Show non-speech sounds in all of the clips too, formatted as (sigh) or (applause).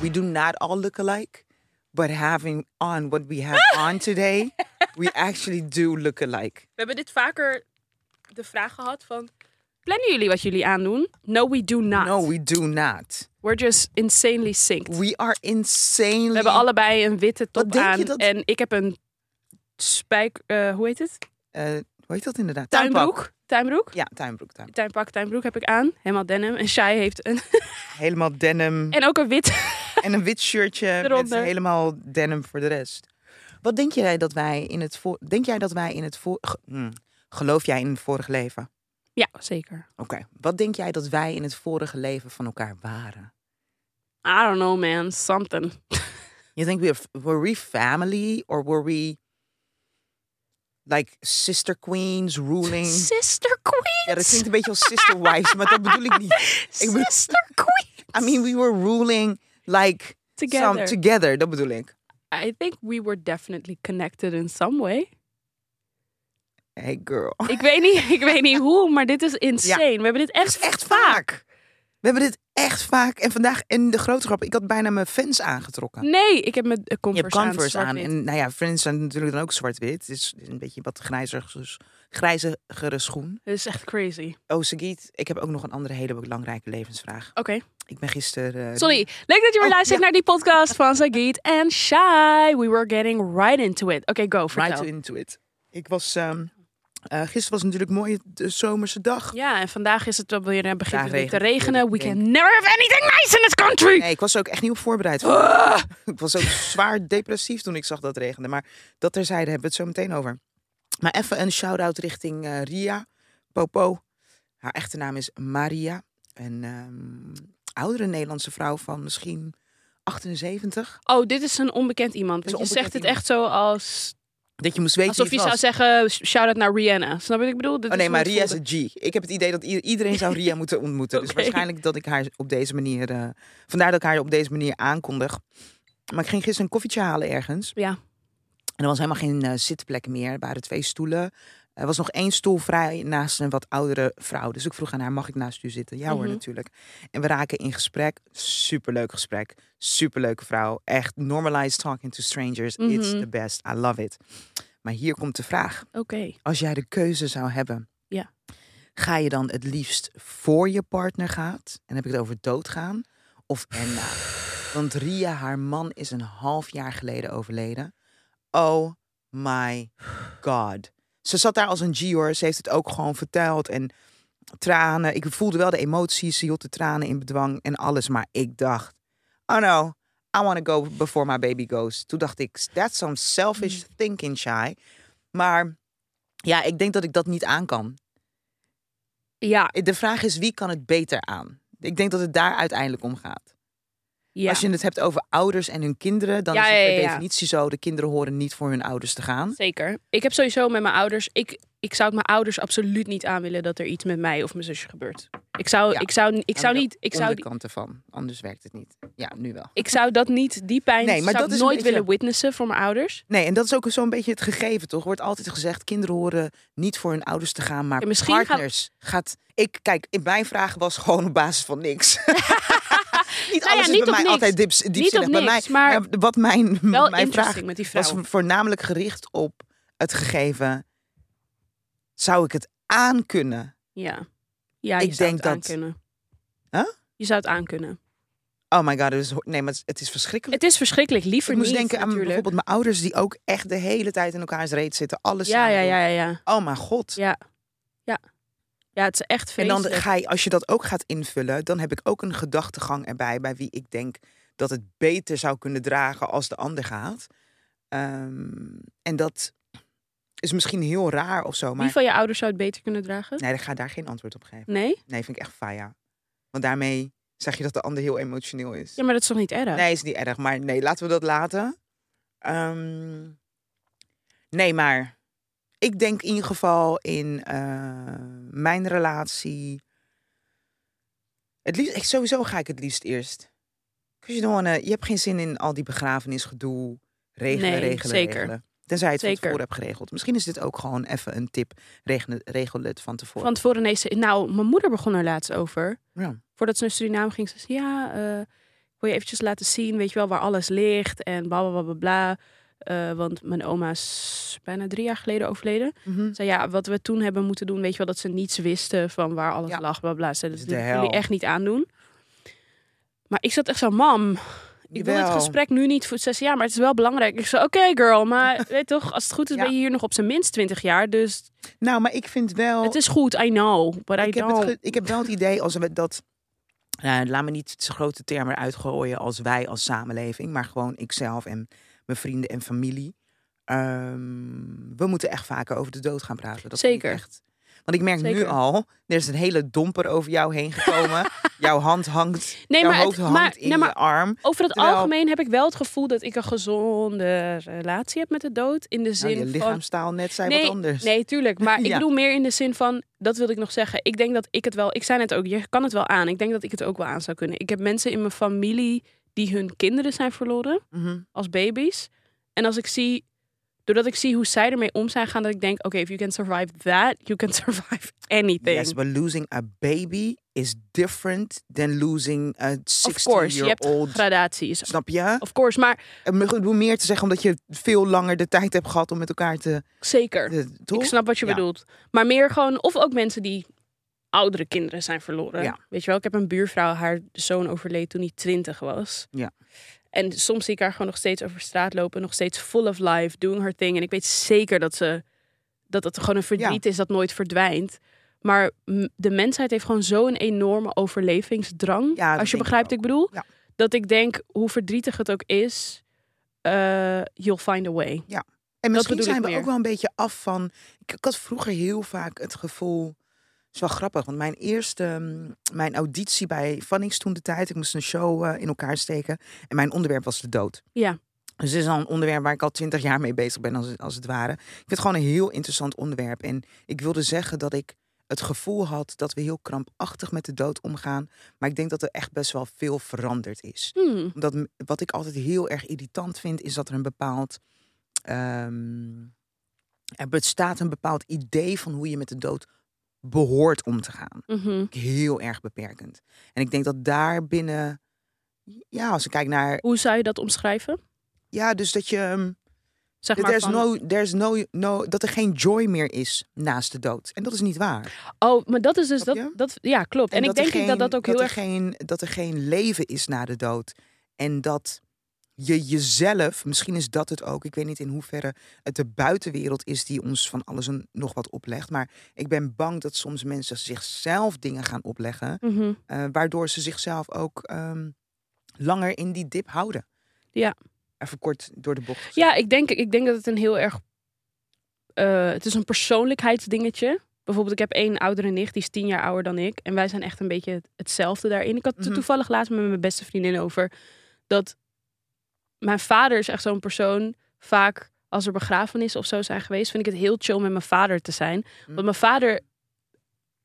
We do not all look alike, but having on what we have (laughs) on today, we actually do look alike. We hebben dit vaker de vraag gehad van... Plannen jullie wat jullie aandoen? No, we do not. No, we do not. We're just insanely synced. We are insanely. We hebben allebei een witte top denk je aan. dat- En ik heb een spijk... eh, hoe heet het? Eh, hoe heet dat inderdaad? Tuinpak. Tuinbroek. Tuinbroek. Ja, tuinbroek, tuinbroek. Tuinpak, tuinbroek heb ik aan. Helemaal denim. En Shai (laughs) heeft een... Helemaal denim. (laughs) en ook een wit. En een wit shirtje met Eronder. helemaal denim voor de rest. Wat denk jij dat wij in het voor... Denk jij dat wij in het voor... ge- hmm. Geloof jij in het vorige leven? Ja, zeker. Oké. Wat denk jij dat wij in het vorige leven van elkaar waren? I don't know, man. Something. You think we have, were we family or were we like sister queens ruling? (laughs) Sister Queen. Ja, dat klinkt een beetje als sister wives, maar dat bedoel ik (laughs) niet. Ik bedoel- Sister Queen. I mean, we were ruling like Together. some together. Dat bedoel ik. I think we were definitely connected in some way. Hey girl. (laughs) Ik weet niet, (laughs) ik weet niet hoe, maar dit is insane. We hebben dit echt, echt vaak. We hebben dit echt vaak. En vandaag, en de grote grap, ik had bijna mijn fans aangetrokken. Nee, ik heb mijn eh, Je hebt Converse, Converse aan. zwart-wit. En nou ja, friends zijn natuurlijk dan ook zwart-wit. Het is een beetje wat grijzig, dus grijzigere schoen. Dit is echt crazy. Oh, Sagiet, ik heb ook nog een andere hele belangrijke levensvraag. Oké, Ik ben gisteren... eh, sorry. Leuk dat je weer Oh, luistert ja. naar die podcast van Sagiet en Shai. We were getting right into it. Oké, go, Right vertel. to into it. Ik was... ehm, eh, gisteren was natuurlijk een mooie de zomerse dag. Ja, en vandaag is het wel weer eh, begint Vandaag het weer te regent het regenen. We weer, ik can never have anything nice in this country. Nee, ik was er ook echt niet op voorbereid. Ah! (laughs) Ik was ook zwaar depressief toen ik zag dat het regende. Maar dat terzijde hebben we het zo meteen over. Maar even een shout-out richting eh, Ria Popo. Haar echte naam is Maria. Een ehm, oudere Nederlandse vrouw van misschien 78. Oh, dit is een onbekend iemand. Dit Want is je een zegt het onbekend echt zo als... Dat je moest weten Alsof je wie het zou was. zeggen, shout-out naar Rihanna. Snap je wat ik bedoel? Dit Oh is nee, hoe maar het Ria is voelde. een G. Ik heb het idee dat i- iedereen zou (laughs) Ria moeten ontmoeten. Dus Oké. waarschijnlijk dat ik haar op deze manier... eh, vandaar dat ik haar op deze manier aankondig. Maar ik ging gisteren een koffietje halen ergens. Ja, En er was helemaal geen eh, zitplek meer. Er waren twee stoelen. Er was nog één stoel vrij naast een wat oudere vrouw. Dus ik vroeg aan haar, mag ik naast u zitten? Ja hoor, Mhm. natuurlijk. En we raken in gesprek. Superleuk gesprek. Superleuke vrouw. Echt, normalize talking to strangers. It's Mhm. the best. I love it. Maar hier komt de vraag. oké. Als jij de keuze zou hebben. Ja. Ga je dan het liefst voor je partner gaat? En heb ik het over doodgaan? Of en na? Want Ria, haar man, is een half jaar geleden overleden. Oh my god. Ze zat daar als een G hoor. Ze heeft het ook gewoon verteld. En tranen. Ik voelde wel de emoties. Ze hield de tranen in bedwang en alles. Maar ik dacht, oh no, I want to go before my baby goes. Toen dacht ik, that's some selfish thinking, Shai. Maar ja, ik denk dat ik dat niet aan kan. Ja, De vraag is, wie kan het beter aan? Ik denk dat het daar uiteindelijk om gaat. ja. Als je het hebt over ouders en hun kinderen, dan is Ja, het per ja, ja, ja. definitie zo: de kinderen horen niet voor hun ouders te gaan. Zeker. Ik heb sowieso met mijn ouders. Ik, ik zou het mijn ouders absoluut niet aan willen dat er iets met mij of mijn zusje gebeurt. Ik zou, Ja. ik zou, ik zou Aan de niet. Ik zou, Onderkant ervan, anders werkt het niet. Ja, nu wel. ik zou dat niet, die pijn Nee, maar zou dat ik is een nooit beetje- willen witnessen voor mijn ouders. Nee, en dat is ook zo'n beetje het gegeven, toch? Wordt altijd gezegd: kinderen horen niet voor hun ouders te gaan, maar Ja, misschien gaan- partners gaat. Ik kijk, in mijn vraag was gewoon op basis van (laughs) niks. niet Nou ja, alles is niet bij op mij niks. altijd diep, diepzinnig. op bij niks, mij, maar wat Hm, mijn, Wel mijn interesting vraag met die vrouw. was voornamelijk gericht op het gegeven: zou ik het aankunnen? Ja. Ja, je Ik zou denk het dat- aankunnen. Huh? Je zou het aankunnen. Oh my god, het is, ho- nee, maar het is- het is verschrikkelijk. Het is verschrikkelijk. Liever ik moest niet, denken aan natuurlijk. bijvoorbeeld mijn ouders die ook echt de hele tijd in elkaars reet zitten. Alles Ja, samen ja, doen. ja, ja, ja. Oh mijn god. Ja. Ja. Ja, het is echt en vreselijk. dan ga je, als je dat ook gaat invullen, dan heb ik ook een gedachtegang erbij bij wie ik denk dat het beter zou kunnen dragen als de ander gaat. Ehm, en dat is misschien heel raar of zo, Wie maar van je ouders zou het beter kunnen dragen? nee, ik ga daar geen antwoord op geven. Nee? Nee, vind ik echt faya. Want daarmee zeg je dat de ander heel emotioneel is. Ja, maar dat is toch niet erg? Nee, is niet erg. Maar nee, laten we dat laten. Ehm, nee, maar ik denk in ieder geval in eh, mijn relatie. Het liefst, ik- sowieso ga ik het liefst eerst. 'Cause you don't wanna- je hebt geen zin in al die begrafenisgedoe. Regelen, Nee, regelen, zeker. regelen. Tenzij je het Zeker. van tevoren hebt geregeld. Misschien is dit ook gewoon even een tip. Regelen, regel het van tevoren. Van tevoren ineens... Nou, mijn moeder begon er laatst over. Ja. Voordat ze naar Suriname ging, zei ze... Ja, eh, ik wil je eventjes laten zien, weet je wel, waar alles ligt en bla bla bla bla. bla. Eh, want mijn oma is bijna drie jaar geleden overleden. Mhm. Zei ja, wat we toen hebben moeten doen, weet je wel, dat ze niets wisten van waar alles Ja. lag, bla bla. Ze dat is de moeten hel. jullie echt niet aandoen. Maar ik zat echt zo, mam, ik wil het Jawel. gesprek nu niet voor zes jaar, maar het is wel belangrijk. Ik zei, oké girl, (laughs) maar weet toch, als het goed is Ja. ben je hier nog op zijn minst twintig jaar. Dus Nou, maar ik vind wel... het is goed, I know, but I ik, heb don't. het ge- ik heb wel het idee als we dat... Nou, laat me niet zo'n grote term eruit gooien als wij als samenleving. Maar gewoon ikzelf en mijn vrienden en familie. Ehm, we moeten echt vaker over de dood gaan praten. Dat vind ik Zeker. echt. Want ik merk nu Zeker. al, er is een hele domper over jou heen (laughs) gekomen. jouw hand hangt, Nee, jouw maar het- hoofd hangt maar- in nee, maar- je arm. Over het Terwijl- algemeen heb ik wel het gevoel dat ik een gezonde relatie heb met de dood. In de Nou, zin je van. lichaamstaal net zei Nee, wat anders. Nee, tuurlijk. (laughs) Maar ik Ja. bedoel meer in de zin van. Dat wilde ik nog zeggen. Ik denk dat ik het wel. Ik zei het ook. Je kan het wel aan. Ik denk dat ik het ook wel aan zou kunnen. Ik heb mensen in mijn familie die hun kinderen zijn verloren Mhm. als baby's. En als ik zie. Doordat ik zie hoe zij ermee om zijn gaan, dat ik denk: oké, if you can survive that, you can (laughs) survive anything. Yes, but losing a baby is different than losing a of course, je hebt 60-year-old. gradaties. Snap je? Of course, maar En me- Ik bedoel meer te zeggen omdat je veel langer de tijd hebt gehad om met elkaar te... zeker. te toch? Ik snap wat je Ja. bedoelt. Maar meer gewoon, of ook mensen die oudere kinderen zijn verloren. Ja. Weet je wel, ik heb een buurvrouw, haar zoon overleed toen hij twintig was. Ja. En soms zie ik haar gewoon nog steeds over straat lopen, nog steeds full of life, doing her thing. En ik weet zeker dat ze, dat het gewoon een verdriet is dat nooit verdwijnt. Maar m- de mensheid heeft gewoon zo'n enorme overlevingsdrang. Ja, dat als je denk ik begrijpt wat ik bedoel. Ja. Dat ik denk, hoe verdrietig het ook is, eh, you'll find a way. En misschien bedoel ik zijn we meer. ook wel een beetje af van... Ik, ik had vroeger heel vaak het gevoel... Het is wel grappig, want mijn eerste... mm, Mijn auditie bij Fannings toen de tijd... Ik moest een show eh, in elkaar steken. En mijn onderwerp was de dood. Ja. Dus dit is al een onderwerp waar ik al twintig jaar mee bezig ben, als, het- als het ware. Ik vind het gewoon een heel interessant onderwerp. En ik wilde zeggen dat ik het gevoel had dat we heel krampachtig met de dood omgaan. Maar ik denk dat er echt best wel veel veranderd is Hmm. omdat m- wat ik altijd heel erg irritant vind, is dat er een bepaald. ehm, er bestaat een bepaald idee van hoe je met de dood behoort om te gaan. Mhm. Heel erg beperkend. En ik denk dat daar binnen. Ja, als ik kijk naar. Hoe zou je dat omschrijven? Ja, dus dat je. ehm, Zeg maar there's van- no, there's no, no, dat er geen joy meer is naast de dood. En dat is niet waar. Oh, maar dat is dus Snap dat, je? dat. Ja, klopt. En, ik er denk ik dat dat geen- ook heel er erg. Geen, dat er geen leven is na de dood. En dat je jezelf, misschien is dat het ook. Ik weet niet in hoeverre het de buitenwereld is die ons van alles en nog wat oplegt. Maar ik ben bang dat soms mensen zichzelf dingen gaan opleggen. Mhm. eh, waardoor ze zichzelf ook ehm, langer in die dip houden. Ja. Even kort door de bocht. Ja, ik denk, ik denk dat het een heel erg. eh, het is een persoonlijkheidsdingetje. Bijvoorbeeld, ik heb één oudere nicht, die is tien jaar ouder dan ik. En wij zijn echt een beetje het- hetzelfde daarin. Ik had het Mhm. toevallig laatst met mijn beste vriendin over. Dat mijn vader is echt zo'n persoon. Vaak als er begrafenissen of zo zijn geweest, vind ik het heel chill met mijn vader te zijn. Mhm. Want mijn vader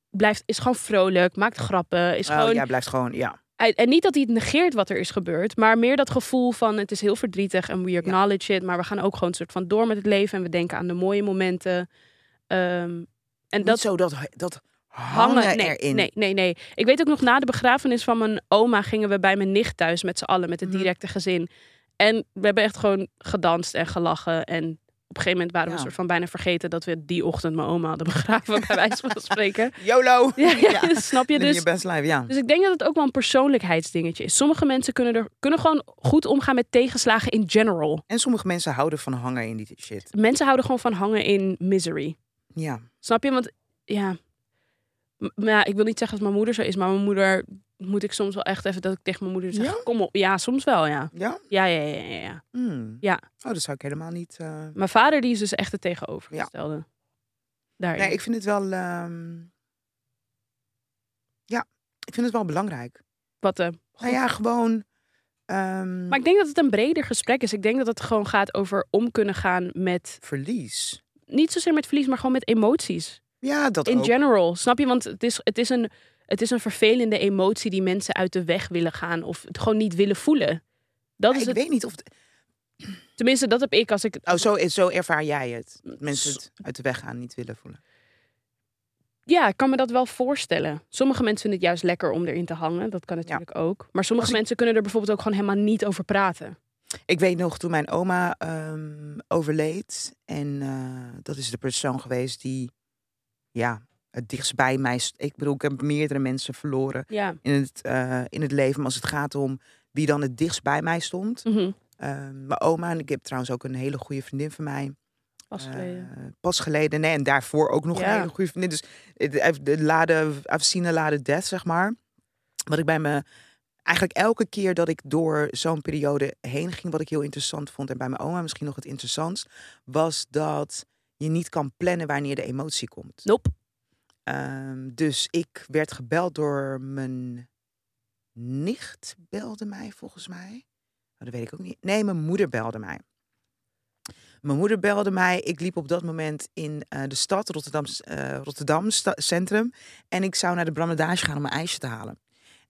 blijft, is gewoon vrolijk, maakt grappen, is Oh, gewoon ja, blijft gewoon, ja. Hij- En niet dat hij het negeert wat er is gebeurd, maar meer dat gevoel van het is heel verdrietig en we acknowledge it, maar we gaan ook gewoon een soort van door met het leven en we denken aan de mooie momenten. Ehm, en Dat, niet dat zo dat, dat hangen, nee, erin. Nee, nee, nee. Ik weet ook nog na de begrafenis van mijn oma gingen we bij mijn nicht thuis met z'n allen, met het Mhm. directe gezin. En we hebben echt gewoon gedanst en gelachen. En op een gegeven moment waren we Ja. een soort van bijna vergeten dat we die ochtend mijn oma hadden (laughs) begraven, bij wijze (laughs) van spreken. YOLO! (laughs) Ja, ja, snap je? Living your Dus best life, ja. dus ik denk dat het ook wel een persoonlijkheidsdingetje is. Sommige mensen kunnen, er, kunnen gewoon goed omgaan met tegenslagen in general. En sommige mensen houden van hangen in die shit. Mensen houden gewoon van hangen in misery. Ja. Snap je? Want ja. M- Maar ja, ik wil niet zeggen dat mijn moeder zo is, maar mijn moeder moet ik soms wel echt even dat ik tegen mijn moeder zeg: Ja? Kom op. Ja, soms wel, ja. Ja? Ja, ja, ja, ja, ja. Hmm. Ja. Oh, dat zou ik helemaal niet... eh, Mijn vader, die is dus echt het tegenovergestelde. Daarin. Nee, ik vind het wel... ehm, Ja, ik vind het wel belangrijk. Wat, eh, Nou ja, gewoon... ehm, Maar ik denk dat het een breder gesprek is. Ik denk dat het gewoon gaat over om kunnen gaan met, Verlies. niet zozeer met verlies, maar gewoon met emoties. Ja, dat In ook. general, snap je? Want het is, het, is een, het is een vervelende emotie die mensen uit de weg willen gaan of het gewoon niet willen voelen. Dat Maar ik is het, weet niet of... Tenminste, dat heb ik als ik. Oh, zo, zo ervaar jij het. Dat mensen het uit de weg aan niet willen voelen. ja, ik kan me dat wel voorstellen. Sommige mensen vinden het juist lekker om erin te hangen. Dat kan natuurlijk ook. Maar sommige Als ik- mensen kunnen er bijvoorbeeld ook gewoon helemaal niet over praten. Ik weet nog toen mijn oma ehm, overleed. En eh, dat is de persoon geweest die ja, het dichtst bij mij... st- Ik bedoel, ik heb meerdere mensen verloren Ja. in het, eh, in het leven. Maar als het gaat om wie dan het dichtst bij mij stond. Mhm. ehm, mijn oma, en ik heb trouwens ook een hele goede vriendin van mij. Pas eh, geleden. pas geleden, nee. En daarvoor ook nog Ja. een hele goede vriendin. Dus het- het- de lade, I've seen a lade death, zeg maar. Wat ik bij me... Eigenlijk elke keer dat ik door zo'n periode heen ging... wat ik heel interessant vond, en bij mijn oma misschien nog het interessantst... was dat je niet kan plannen wanneer de emotie komt. Nope. Ehm, dus ik werd gebeld door mijn nicht, belde mij volgens mij. Oh, dat weet ik ook niet. Nee, mijn moeder belde mij. Mijn moeder belde mij. Ik liep op dat moment in eh, de stad, Rotterdam, eh, Rotterdam sta- centrum. En ik zou naar de Bramledage gaan om een ijsje te halen.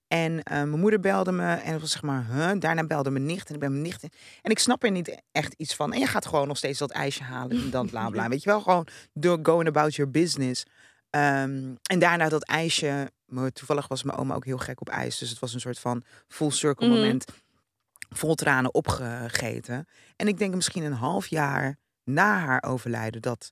En eh, mijn moeder belde me en het was zeg maar, huh? daarna belde mijn nicht en ik ben mijn nicht. En ik snap er niet echt iets van. En je gaat gewoon nog steeds dat ijsje halen en dan bla bla. Weet je wel, gewoon door going about your business. Ehm, en daarna dat ijsje. Maar toevallig was mijn oma ook heel gek op ijs. Dus het was een soort van full circle Mhm. moment. Vol tranen opgegeten. En ik denk misschien een half jaar na haar overlijden. Dat,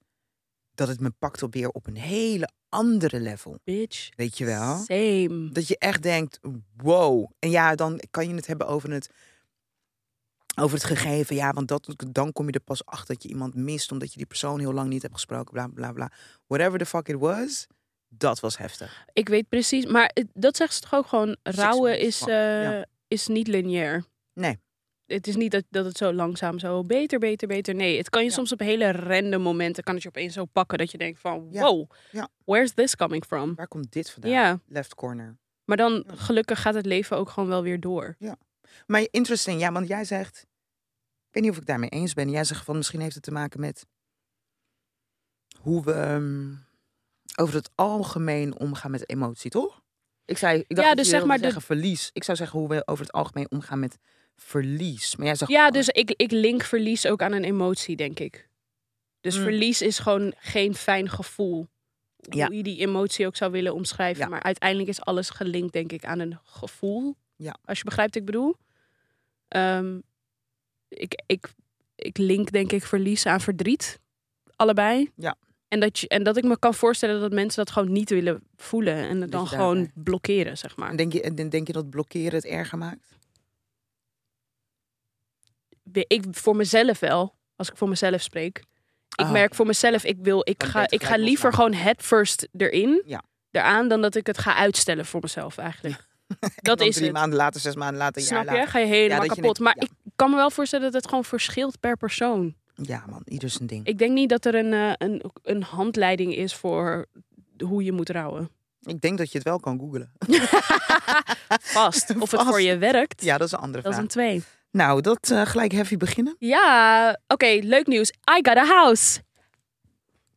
dat het me pakte weer op een hele andere level. Bitch. Weet je wel? Same. Dat je echt denkt, wow. En ja, dan kan je het hebben over het, over het gegeven. Ja, want dat, dan kom je er pas achter dat je iemand mist... omdat je die persoon heel lang niet hebt gesproken, bla, bla, bla. Whatever the fuck it was, dat was heftig. Ik weet precies. Maar het- dat zegt ze toch ook gewoon. Rouwen months is, lang, eh, ja. is niet lineair. Nee. Het is niet dat, dat het zo langzaam zo beter, beter, beter. Nee, het kan je Ja. soms op hele random momenten. kan het je opeens zo pakken dat je denkt van. Ja. Wow, Ja. where's this coming from? Waar komt dit vandaan? Ja, Left corner. maar dan Ja. gelukkig gaat het leven ook gewoon wel weer door. Maar interesting, ja, want jij zegt... Ik weet niet of ik daarmee eens ben. Jij zegt van, misschien heeft het te maken met... hoe we ehm, over het algemeen omgaan met emotie, toch? Ik zei, ik dacht Ja, dat dus je zeg wilde maar de- zeggen verlies. Ik zou zeggen hoe we over het algemeen omgaan met verlies. Maar jij zegt... Ja, dus ik, ik link verlies ook aan een emotie, denk ik. Dus Mm. verlies is gewoon geen fijn gevoel. Hoe Ja. je die emotie ook zou willen omschrijven. Ja. Maar uiteindelijk is alles gelinkt, denk ik, aan een gevoel. Ja. Als je begrijpt wat ik bedoel. Ehm, ik, ik, ik link, denk ik, verlies aan verdriet. Allebei. Ja. En dat, je, en dat ik me kan voorstellen dat mensen dat gewoon niet willen voelen. En Dat het dan je eh, gewoon daarmee- blokkeren, zeg maar. En Denk je, en denk je dat blokkeren het erger maakt? ik voor mezelf wel, als ik voor mezelf spreek. Ik Ah, merk oké. voor mezelf, ik wil, ik Kan je ga, beter ik ga gelijk liever loslaten. gewoon head first erin, Ja. eraan, dan dat ik het ga uitstellen voor mezelf eigenlijk. (laughs) En Dat dan is drie het. maanden later, zes maanden later, een jaar Snap je? later. Ga je helemaal dat je kapot. denkt, maar ja. ik kan me wel voorstellen dat het gewoon verschilt per persoon. Ja man, ieder zijn ding. Ik denk niet dat er een, eh, een, een handleiding is voor hoe je moet rouwen. Ik denk dat je het wel kan googlen. (laughs) Vast. Of het Vast. voor je werkt. Ja, dat is een andere Dat is vraag. een twee. Nou, dat eh, gelijk heavy beginnen. Ja, oké, leuk nieuws. I got a house.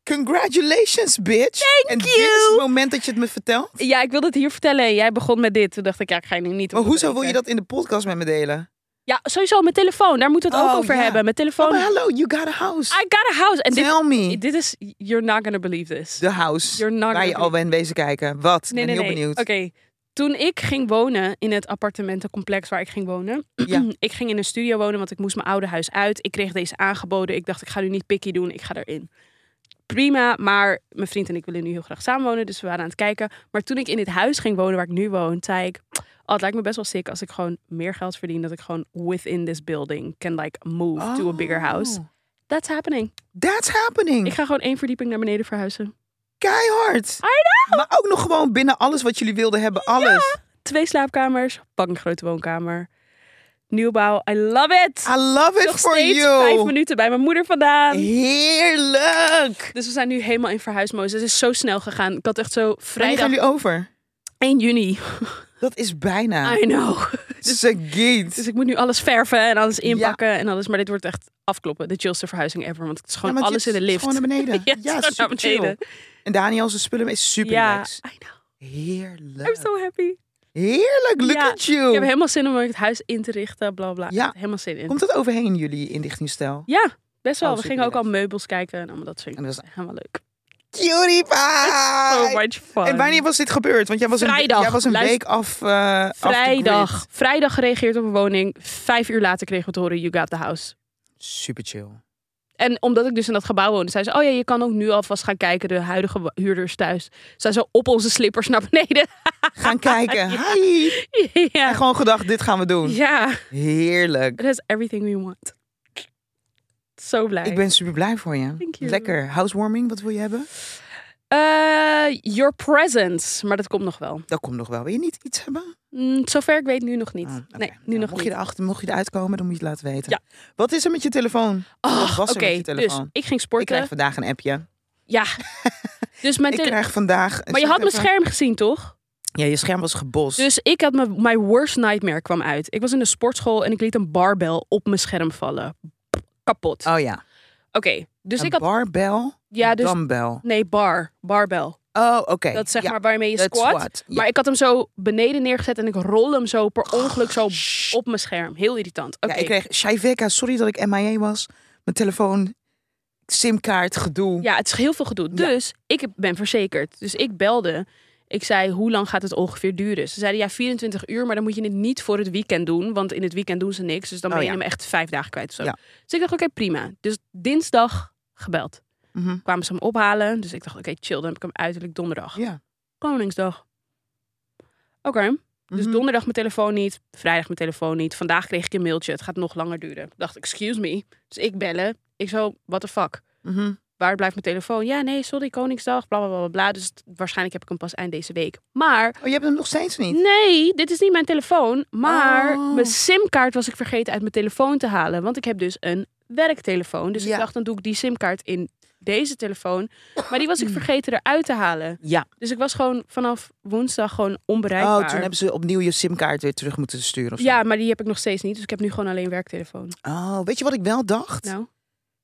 Congratulations, bitch! Thank en dit is you. het moment dat je het me vertelt. Ja, ik wilde het hier vertellen. en Jij begon met dit. Toen dacht ik, ja, ik ga je nu niet. Maar hoezo wil onderbreken. je dat in de podcast met me delen? Ja, sowieso mijn telefoon. Daar moeten we het Oh, ook over ja. hebben. Mijn Oh, telefoon. maar hallo, you got a house. I got a house. En dit, Tell me. dit is. You're not gonna believe this. De house. You're not Waar je gonna al bent wezen kijken. Wat? Nee, ik ben nee, heel nee. benieuwd. Oké. Toen ik ging wonen in het appartementencomplex waar ik ging wonen. Ja. (clears throat) Ik ging in een studio wonen, want ik moest mijn oude huis uit. Ik kreeg deze aangeboden. Ik dacht, ik ga nu niet picky doen. Ik ga erin. Prima, maar mijn vriend en ik willen nu heel graag samenwonen. Dus we waren aan het kijken. Maar toen ik in dit huis ging wonen waar ik nu woon, zei ik... Oh, het lijkt me best wel sick als ik gewoon meer geld verdien. Dat ik gewoon within this building can like move to a bigger house. Oh, That's happening. That's happening. Ik ga gewoon één verdieping naar beneden verhuizen. Keihard. Maar ook nog gewoon binnen alles wat jullie wilden hebben. Alles. Twee slaapkamers, pak een grote woonkamer. Nieuwbouw, I love it! I love it Nog for steeds vijf you. minuten bij mijn moeder vandaan. Heerlijk. Dus we zijn nu helemaal in verhuismodus. Het is zo snel gegaan. Ik had echt zo Wanneer gaan vrijdag jullie Ah. over? 1 juni. Dat is bijna. (laughs) I know. Dus een Dus gate. ik moet nu alles verven en alles inpakken en alles. Maar dit wordt echt afkloppen. De chillste verhuizing ever. Want het is gewoon Ja, want alles je- in de het lift. is (laughs) Gewoon naar beneden. Ja, ja, het is gewoon super naar chill. beneden. En Daniel zijn spullen mee. Super ja, relaxed. I know. I'm Heerlijk. so happy. Heerlijk, look Ja, at you. Ik heb helemaal zin om het huis in te richten. Bla bla. Oh. Ja. Helemaal zin in. Komt dat overheen jullie inrichtingsstijl? Ja, best wel. Oh, we super gingen ook al relaxed. meubels kijken en allemaal dat soort En dingen. dat Ah, Helemaal leuk. So PewDiePie! much fun. en wanneer was dit gebeurd? Want jij was Vrijdag. een, jij was een Luister- week af. eh, af the Vrijdag. grid. Vrijdag gereageerd op een woning. Vijf uur later kregen we te horen, you got the house. Super chill. En omdat ik dus in dat gebouw woonde, zei ze, oh ja, je kan ook nu alvast gaan kijken, de huidige wa- huurders thuis. Zij zo op onze slippers naar beneden. (laughs) Gaan kijken. Hi. En (laughs) ja. gewoon gedacht, dit gaan we doen. ja, Heerlijk. that's everything we want. Zo blij. Ik ben super blij voor je. Thank you. Lekker. Housewarming, wat wil je hebben? Eh, your presence, maar dat komt nog wel. Dat komt nog wel. Wil je niet iets hebben? Mm, zover ik weet nu nog niet. Ah, oké. Nee, nu Nou, nog mocht niet. Je erachter, mocht je eruit komen, dan moet je het laten weten. Ja. Wat is er met je telefoon? Wat Ah, was Oké, er met je dus telefoon? ik Ik ging sporten. krijg vandaag een appje. (laughs) Ja. dus mijn Ik tele- krijg vandaag... Maar je had mijn scherm gezien, toch? Ja, je scherm was gebost. Dus ik had mijn my worst nightmare kwam uit. Ik was in de sportschool en ik liet een barbel op mijn scherm vallen. Kapot. Oké, Oh ja. dus een ik had barbel, ja, dus dumbbell. nee bar, barbel. Oh, oké. Dat is zeg Ja, maar waarmee je dat squat. Ja. Oh, Maar ik had hem zo beneden neergezet en ik rolde hem zo per ongeluk zo op mijn scherm. Heel irritant. Oké. Ja, ik kreeg... Shaiveka, sorry dat ik MIA was. Mijn telefoon, simkaart, gedoe. Ja, het is heel veel gedoe. Ja. Dus ik ben verzekerd. Dus ik belde. Ik zei, hoe lang gaat het ongeveer duren? Ze zeiden, ja, 24 uur, maar dan moet je het niet voor het weekend doen. Want in het weekend doen ze niks. Dus dan Oh, ben je ja. hem echt vijf dagen kwijt. of Zo. Ja. Dus ik dacht, oké, prima. Dus dinsdag gebeld. Mhm. Kwamen ze hem ophalen. Dus ik dacht, oké, chill. Dan heb ik hem uiterlijk donderdag. Ja. Koningsdag. Oké. Dus Mhm. donderdag mijn telefoon niet, vrijdag mijn telefoon niet. Vandaag kreeg ik een mailtje, het gaat nog langer duren. Ik dacht, excuse me. Dus ik bellen. Ik zo, what the fuck? Mhm. Waar blijft mijn telefoon? Ja, nee, sorry, Koningsdag, bla bla bla bla, bla. Dus het- waarschijnlijk heb ik hem pas eind deze week. Maar, Oh, je hebt hem nog steeds niet? nee, dit is niet mijn telefoon. Maar Oh. mijn simkaart was ik vergeten uit mijn telefoon te halen. Want ik heb dus een werktelefoon. Dus ik Ja. dacht, dan doe ik die simkaart in deze telefoon. Maar die was (clears throat) ik vergeten eruit te halen. Ja. Dus ik was gewoon vanaf woensdag gewoon Oh, onbereikbaar. toen hebben ze opnieuw je simkaart weer terug moeten sturen of zo. Ja, maar die heb ik nog steeds niet. Dus ik heb nu gewoon alleen werktelefoon. Oh, weet je wat ik wel dacht? Nou.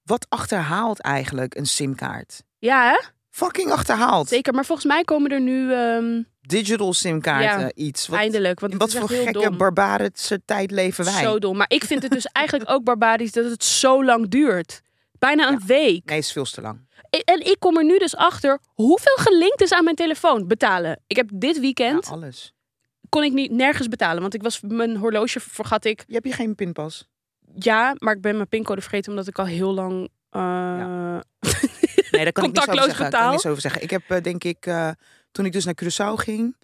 Wat achterhaalt eigenlijk een simkaart? Ja, hè? Fucking achterhaald. zeker. Maar volgens mij komen er nu ehm, Digital simkaarten, Ja. iets. Wat, eindelijk. Want in het wat is voor echt heel gekke, dom. barbarische tijd leven wij? Zo dom. Maar ik vind het dus eigenlijk ook barbarisch dat het zo lang duurt. Bijna een week. Nee, is veel te lang. E- En ik kom er nu dus achter hoeveel gelinkt is aan mijn telefoon betalen. Ik heb dit Ja, weekend alles. kon ik niet nergens betalen, want ik was mijn horloge vergat ik. Je hebt hier geen pinpas. Ja, maar ik ben mijn pincode vergeten omdat ik al heel lang eh, Nee, daar kan ik niks over Contactloos zeggen. Daar Kan ik betaal. niks over zeggen. Ik heb eh, denk ik, eh, toen ik dus naar Curaçao ging,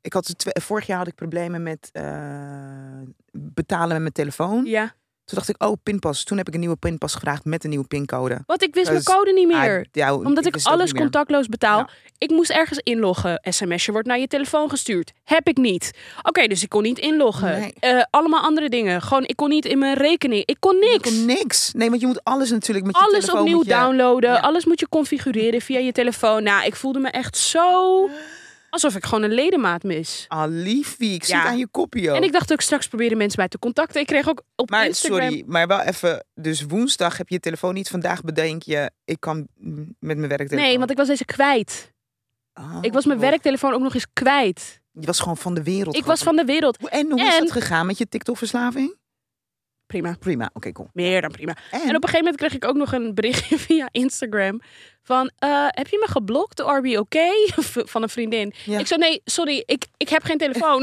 ik had twee- vorig jaar had ik problemen met eh, betalen met mijn telefoon. ja. Toen dacht ik, oh, pinpas. Toen heb ik een nieuwe pinpas gevraagd met een nieuwe pincode. Want ik wist Dus mijn code niet meer. Ah, ja, Omdat ik, wist het ook alles niet meer. contactloos betaal. Ja. Ik moest ergens inloggen. SMS'je wordt naar je telefoon gestuurd. Heb ik niet. Oké, dus ik kon niet inloggen. Nee. Eh, allemaal andere dingen. Gewoon, ik kon niet in mijn rekening. Ik kon niks. Ik kon niks. Nee, want je moet alles natuurlijk met je alles telefoon... opnieuw moet je- downloaden. Ja. Alles moet je configureren via je telefoon. Nou, ik voelde me echt zo... Alsof ik gewoon een ledemaat mis. Ah, liefie, ik Ja. zit aan je kopie, joh. En ik dacht ook, straks proberen mensen mij te contacten. Ik kreeg ook op Oh. Maar Instagram... sorry, maar wel even. Dus woensdag heb je je telefoon niet. Vandaag bedenk je, ik kan mm, met mijn werktelefoon. Nee, want ik was deze kwijt. Oh, Ik was mijn wow. werktelefoon ook nog eens kwijt. Je was gewoon van de wereld. Ik was van de wereld. Hoe- En hoe is en- dat gegaan met je TikTok-verslaving? Prima. Prima, oké, cool. Meer dan prima. En, En op een gegeven moment kreeg ik ook nog een berichtje (laughs) via Instagram. Van, eh, heb je me geblokt? Are we okay? (laughs) V- Van een vriendin. Ja. Ik zei, nee, sorry, ik, ik heb geen (laughs) telefoon.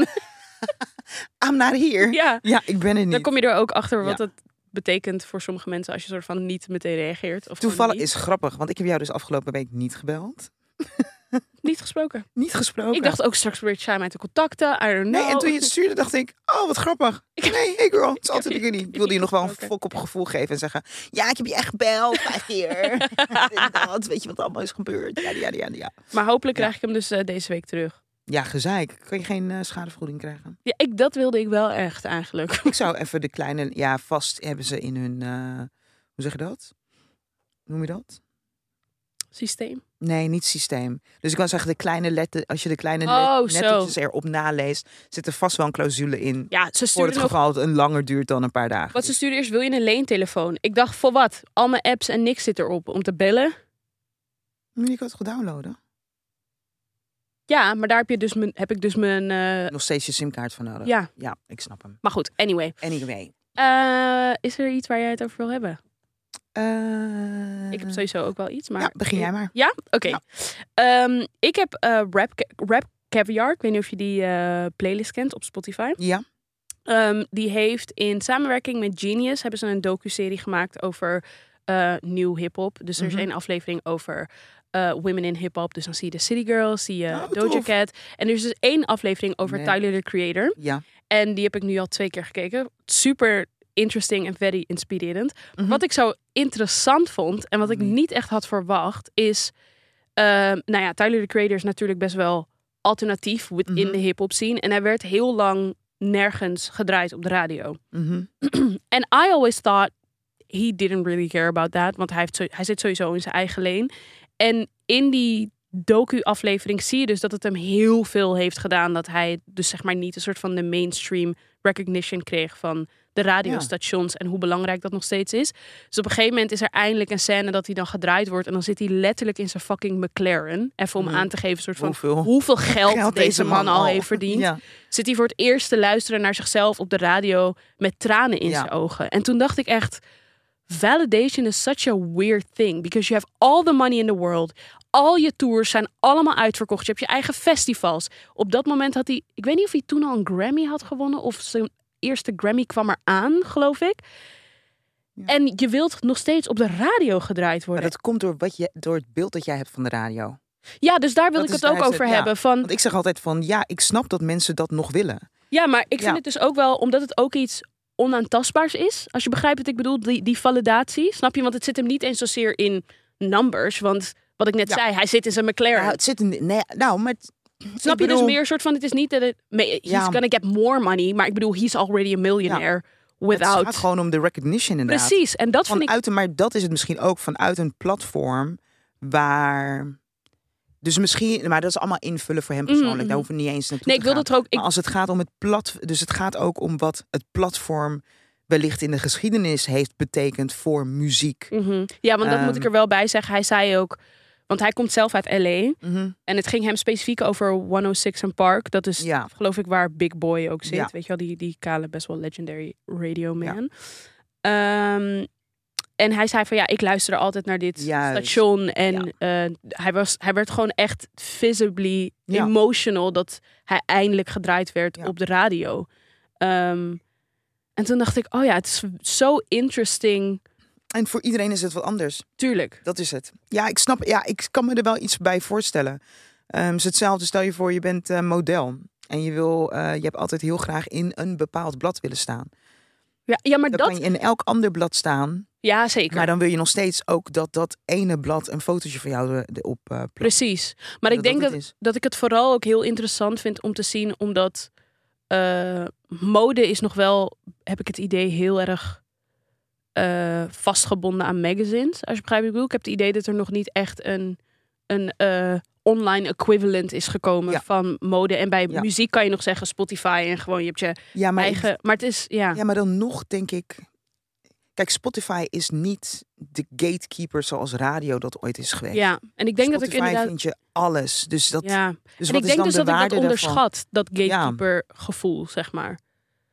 I'm not here. Ja, ja, ik ben er dan niet. kom je er ook achter wat Ja. dat betekent voor sommige mensen. Als je soort van niet meteen reageert. Of Toevallig gewoon is niet, grappig, want ik heb jou dus afgelopen week niet gebeld. Niet gesproken. Niet gesproken. Ik dacht nou, ook, straks probeert zij mij te contacten. I don't know. Nee, en toen je (laughs) het stuurde, dacht ik, oh, wat grappig. Nee, hey girl, het is altijd heb weer jullie. Ik wilde je nog wel een gesproken. fok op gevoel geven en zeggen... Ja, ik heb je echt gebeld, vijf (laughs) (laughs) keer. Dit, dat, weet je wat allemaal is gebeurd? Ja, ja, ja, ja. Maar hopelijk Ja. krijg ik hem dus eh, deze week terug. Ja, gezeik. Kan je geen eh, schadevergoeding (laughs) krijgen? Ja, ik, dat wilde ik wel echt eigenlijk. (laughs) Ik zou even de kleine... Ja, vast hebben ze in hun... eh, hoe zeg je dat? Noem je dat? Systeem. Nee, niet systeem. Dus ik kan zeggen, de kleine letter, als je de kleine Oh, let, zo. lettertjes erop naleest... zit er vast wel een clausule in... Ja, ze voor sturen het nog geval dat het een langer duurt dan een paar dagen. Wat ze stuurde eerst, wil je een leentelefoon? Ik dacht, voor wat? Al mijn apps en niks zit erop. Om te bellen? Maar je kan het goed downloaden. Ja, maar daar heb, je dus mijn, heb ik dus mijn... eh, Nog steeds je simkaart van nodig. ja, Ja, ik snap hem. maar goed, anyway. Anyway. Eh, is er iets waar jij het over wil hebben? Eh, Ik heb sowieso ook wel iets, maar... ja, begin jij Nou. maar. Ja? Oké. Ja. Ehm, ik heb eh, rap, Ca- rap Caviar. Ik weet niet of je die eh, playlist kent op Spotify. Ja. Ehm, die heeft in samenwerking met Genius... hebben ze een docu-serie gemaakt over eh nieuw hip-hop. Dus er Mhm. is één aflevering over eh, women in hip-hop. Dus dan zie je de City Girls, zie je Oh, Doja tof. Cat. En er is dus één aflevering over Nee. Tyler, the Creator. Ja. En die heb ik nu al twee keer gekeken. Super interesting en very inspirerend. Mhm. Wat ik zo interessant vond en wat ik Mhm. niet echt had verwacht is... ehm, nou ja, Tyler, the Creator is natuurlijk best wel alternatief within Mhm. de hip-hop scene. En hij werd heel lang nergens gedraaid op de radio. Mhm. En I always thought he didn't really care about that. Want hij, heeft zo- hij zit sowieso in zijn eigen leen. En in die docu-aflevering zie je dus dat het hem heel veel heeft gedaan. Dat hij dus zeg maar niet een soort van de mainstream recognition kreeg van de radiostations. En hoe belangrijk dat nog steeds is. Dus op een gegeven moment is er eindelijk een scène dat hij dan gedraaid wordt. En dan zit hij letterlijk in zijn fucking McLaren. Even om Mhm. aan te geven soort van Hoeveel hoeveel geld, geld deze, man, al heeft verdiend Ja. zit hij voor het eerst te luisteren naar zichzelf op de radio met tranen in Ja. zijn ogen. En toen dacht ik echt, validation is such a weird thing because you have all the money in the world. Al je tours zijn allemaal uitverkocht. Je hebt je eigen festivals. Op dat moment had hij, ik weet niet of hij toen al een Grammy had gewonnen of zijn eerste Grammy kwam eraan, geloof ik. Ja. En je wilt nog steeds op de radio gedraaid Maar worden. dat komt door, wat je, door het beeld dat jij hebt van de radio. ja, dus daar wil dat ik is- het ook daar is over het, ja. hebben. Van, Want ik zeg altijd van, ja, ik snap dat mensen dat nog willen. Ja, maar ik vind Ja. het dus ook wel, omdat het ook iets onaantastbaars is. Als je begrijpt wat ik bedoel, die, die validatie. Snap je? Want het zit hem niet eens zozeer in numbers. Want wat ik net Ja. zei, hij zit in zijn McLaren. Nou, het zit in, nee, nou, maar... het- Snap ik je? bedoel, Dus meer soort van, het is niet dat het... me- He's Ja. gonna get more money. Maar ik bedoel, he's already a millionaire Het gaat without... gewoon om de recognition inderdaad. Precies, en dat vind ik... Vanuit, een- Maar dat is het misschien ook vanuit een platform waar... Dus misschien, maar dat is allemaal invullen voor hem persoonlijk. mhm. Daar hoeven we niet eens naartoe Nee, te ik gaan. wil dat er ook... Ik, Maar als het gaat om het plat, dus het gaat ook om wat het platform wellicht in de geschiedenis heeft betekend voor muziek. Mhm. Ja, want dat moet ik Ehm. er wel bij zeggen. Hij zei ook... Want hij komt zelf uit L.A. Mhm. En het ging hem specifiek over 106 en Park. Dat is Ja. geloof ik waar Big Boy ook zit. Ja. Weet je wel, die, die kale best wel legendary radio Ja. man. Ehm, en hij zei van ja, ik luister altijd naar dit Juist. station. En eh, hij, was, hij werd gewoon echt visibly Ja. emotional dat hij eindelijk gedraaid werd Ja. op de radio. Ehm, en toen dacht ik, oh ja, het is zo interesting. En voor iedereen is het wat anders. Tuurlijk. Dat is het. Ja, ik snap. Ja, ik kan me er wel iets bij voorstellen. Ehm, het is hetzelfde. Stel je voor, je bent eh, model. En je, wil, eh, je hebt altijd heel graag in een bepaald blad willen staan. Ja, ja maar Dan dat. kan je in elk ander blad staan. Ja, zeker. Maar dan wil je nog steeds ook dat dat ene blad een fotootje van jou er- erop eh plakt. Precies. Maar ik denk dat, het is. dat ik het vooral ook heel interessant vind om te zien, omdat eh, mode is nog wel, heb ik het idee, heel erg eh, vastgebonden aan magazines. Als je begrijpt wat ik bedoel. Ik heb het idee dat er nog niet echt een, een eh, online equivalent is gekomen Ja. van mode. En bij Ja. muziek kan je nog zeggen Spotify en gewoon je hebt je Ja, maar ik- eigen. Maar het is, ja. Ja, maar dan nog denk ik. Kijk, Spotify is niet de gatekeeper zoals radio dat ooit is geweest. Ja, en ik denk dat ik Spotify inderdaad. vind je alles. Dus, dat, ja. dus en wat ik is dan denk dus de dat ik dat waarde daarvan? onderschat, dat Ja. gatekeeper-gevoel, zeg maar.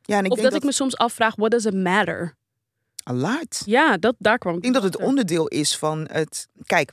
Ja, en ik of denk dat ik me soms afvraag, what does it matter? A lot. Ja, dat, daar kwam ik. Ik denk dat het achter. onderdeel is van het. Kijk,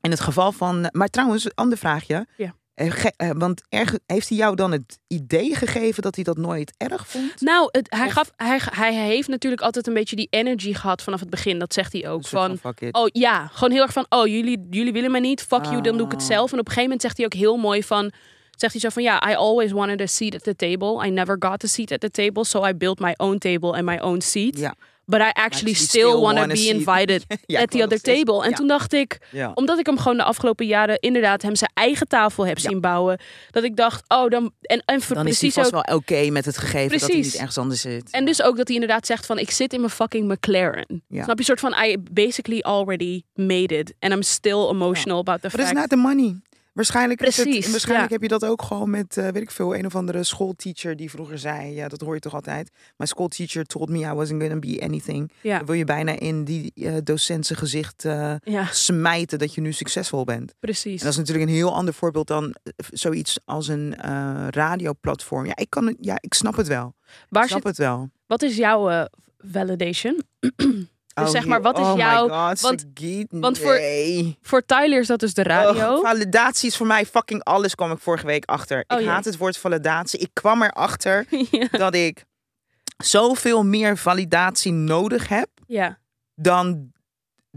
in het geval van. Maar trouwens, een ander vraagje. Ja. Eh, ge- eh, want erg- heeft hij jou dan het idee gegeven dat hij dat nooit erg vond? Nou, het, hij, Of- gaf, hij, hij heeft natuurlijk altijd een beetje die energy gehad vanaf het begin. Dat zegt hij Een ook. soort Van, fuck it. oh ja, gewoon heel erg van, oh jullie, jullie willen mij niet, fuck you, dan doe ik het Ah. zelf. En op een gegeven moment zegt hij ook heel mooi van, zegt hij zo van, ja, I always wanted a seat at the table. I never got a seat at the table, so I built my own table and my own seat. Ja. But I actually Actually still, still want to wanna be seat. (laughs) invited Ja, at ik the wou other nog steeds- table. En ja. toen dacht ik, Ja. omdat ik hem gewoon de afgelopen jaren inderdaad hem zijn eigen tafel heb Ja. zien bouwen, dat ik dacht, oh dan, en, en voor- Dan is hij precies vast ook, wel oké met het gegeven dat hij Precies. niet ergens anders zit. en dus ook dat hij inderdaad zegt van ik zit in mijn fucking McLaren. Ja. Snap je? Soort van I basically already made it. And I'm still emotional about the Maar dat is fact. not the money. Waarschijnlijk, is het- Precies, waarschijnlijk ja. heb je dat ook gewoon met, eh, weet ik veel, een of andere schoolteacher die vroeger zei, ja, dat hoor je toch altijd. My schoolteacher told me I wasn't gonna be anything. Ja. Dan wil je bijna in die eh docent zijn gezicht eh, Ja, smijten dat je nu succesvol bent. precies. En dat is natuurlijk een heel ander voorbeeld dan eh, zoiets als een eh, radioplatform. Ja, ik kan, het- ja, ik snap het wel. Ik Waar snap zit, het wel. wat is jouw eh, validation? Dus Oh, zeg hier- maar, wat is oh my jouw- God, want- Sagitt, want voor nee. Voor Tyler is dat dus de radio. Oh, validatie is voor mij fucking alles, kwam ik vorige week achter. Oh, ik jee. haat het woord validatie. Ik kwam (laughs) erachter (laughs) ja. dat ik zoveel meer validatie nodig heb ja. dan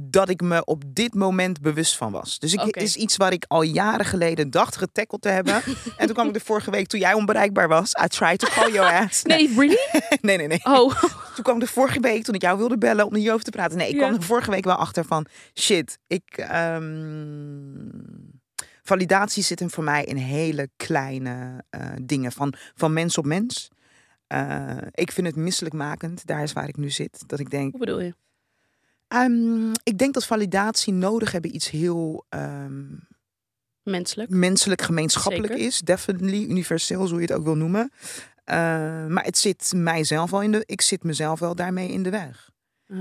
dat ik me op dit moment bewust van was. Dus ik Oké. is iets waar ik al jaren geleden dacht getackeld te (laughs) hebben. en toen kwam ik de vorige week, toen jij onbereikbaar was, I tried to call your ass. Nee, really? (laughs) nee, nee, nee. Oh, Toen kwam ik de vorige week, toen ik jou wilde bellen om hierover te praten. Nee, ik Ja. kwam er vorige week wel achter van, shit, ik... ehm, validatie zit hem voor mij in hele kleine eh, dingen, van, van mens op mens. Eh, ik vind het misselijkmakend, daar is waar ik nu zit. Dat ik denk, hoe bedoel je? Ehm, ik denk dat validatie nodig hebben iets heel ehm, Menselijk. menselijk, gemeenschappelijk Zeker. is. Definitely universeel, zo je het ook wil noemen. Eh, maar het zit mijzelf al in de. Ik zit mezelf wel daarmee in de weg. Ah.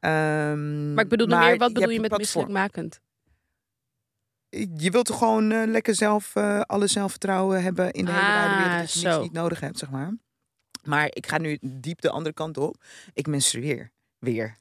Ehm, Maar ik bedoel nog meer, wat je bedoel hebt je met platform. misselijkmakend? Je wilt toch gewoon eh, lekker zelf eh, alle zelfvertrouwen hebben in de hele wijde wereld. Ah, Dat je niks zo. niet nodig hebt, zeg maar. Maar ik ga nu diep de andere kant op. Ik menstrueer (laughs) weer.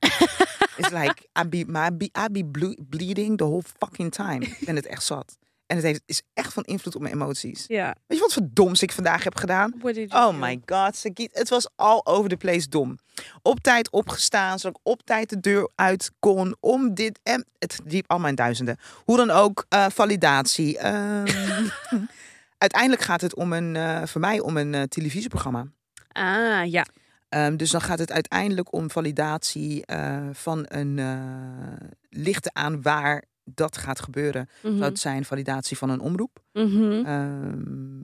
It's like, I be, my, I be, I be ble- bleeding the whole fucking time. Ik ben het echt zat. En het heeft, is echt van invloed op mijn emoties. Ja. Weet je wat voor doms ik vandaag heb gedaan? Oh my god, Sagitt. Het was all over the place dom. Op tijd opgestaan, zodat ik op tijd de deur uit kon. Om dit en... Het liep allemaal in duizenden. Hoe dan ook, eh, validatie. ehm. (laughs) uiteindelijk gaat het om een, eh, voor mij om een eh, televisieprogramma. Ah, ja. Ehm, dus dan gaat het uiteindelijk om validatie eh, van een eh, licht aan waar dat gaat gebeuren. Mhm. Dat zijn validatie van een omroep. Mhm. Ehm,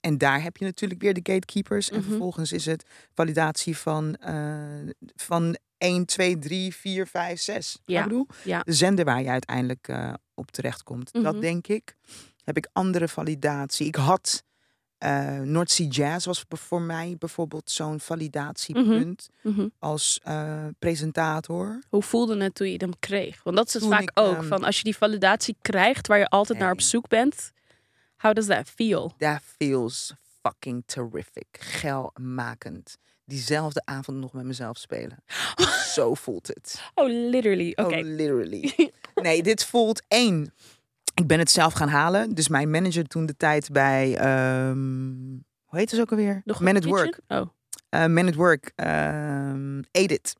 en daar heb je natuurlijk weer de gatekeepers. En Mhm. vervolgens is het validatie van, eh, van 1, 2, 3, 4, 5, 6. Snap je Ja, wat ik bedoel? ja. De zender waar je uiteindelijk eh, op terechtkomt. Mhm. Dat denk ik. Heb ik andere validatie. Ik had eh North Sea Jazz was voor mij bijvoorbeeld zo'n validatiepunt Mhm. als eh, presentator. Hoe voelde het toen je hem kreeg? Want dat is het Toen vaak ik, ook. ehm, Van als je die validatie krijgt waar je altijd naar op Nee. zoek bent. How does that feel? That feels fucking terrific. Geilmakend. Diezelfde avond nog met mezelf spelen. Zo voelt het. Oh, literally. Oké. Oh, (laughs) literally. Nee, dit voelt één. Ik ben het zelf gaan halen. Dus mijn manager toen de tijd bij... ehm, hoe heet het ook alweer? Nog Man een at Work. liedje? Oh. Eh, Man at Work. ehm, Edith.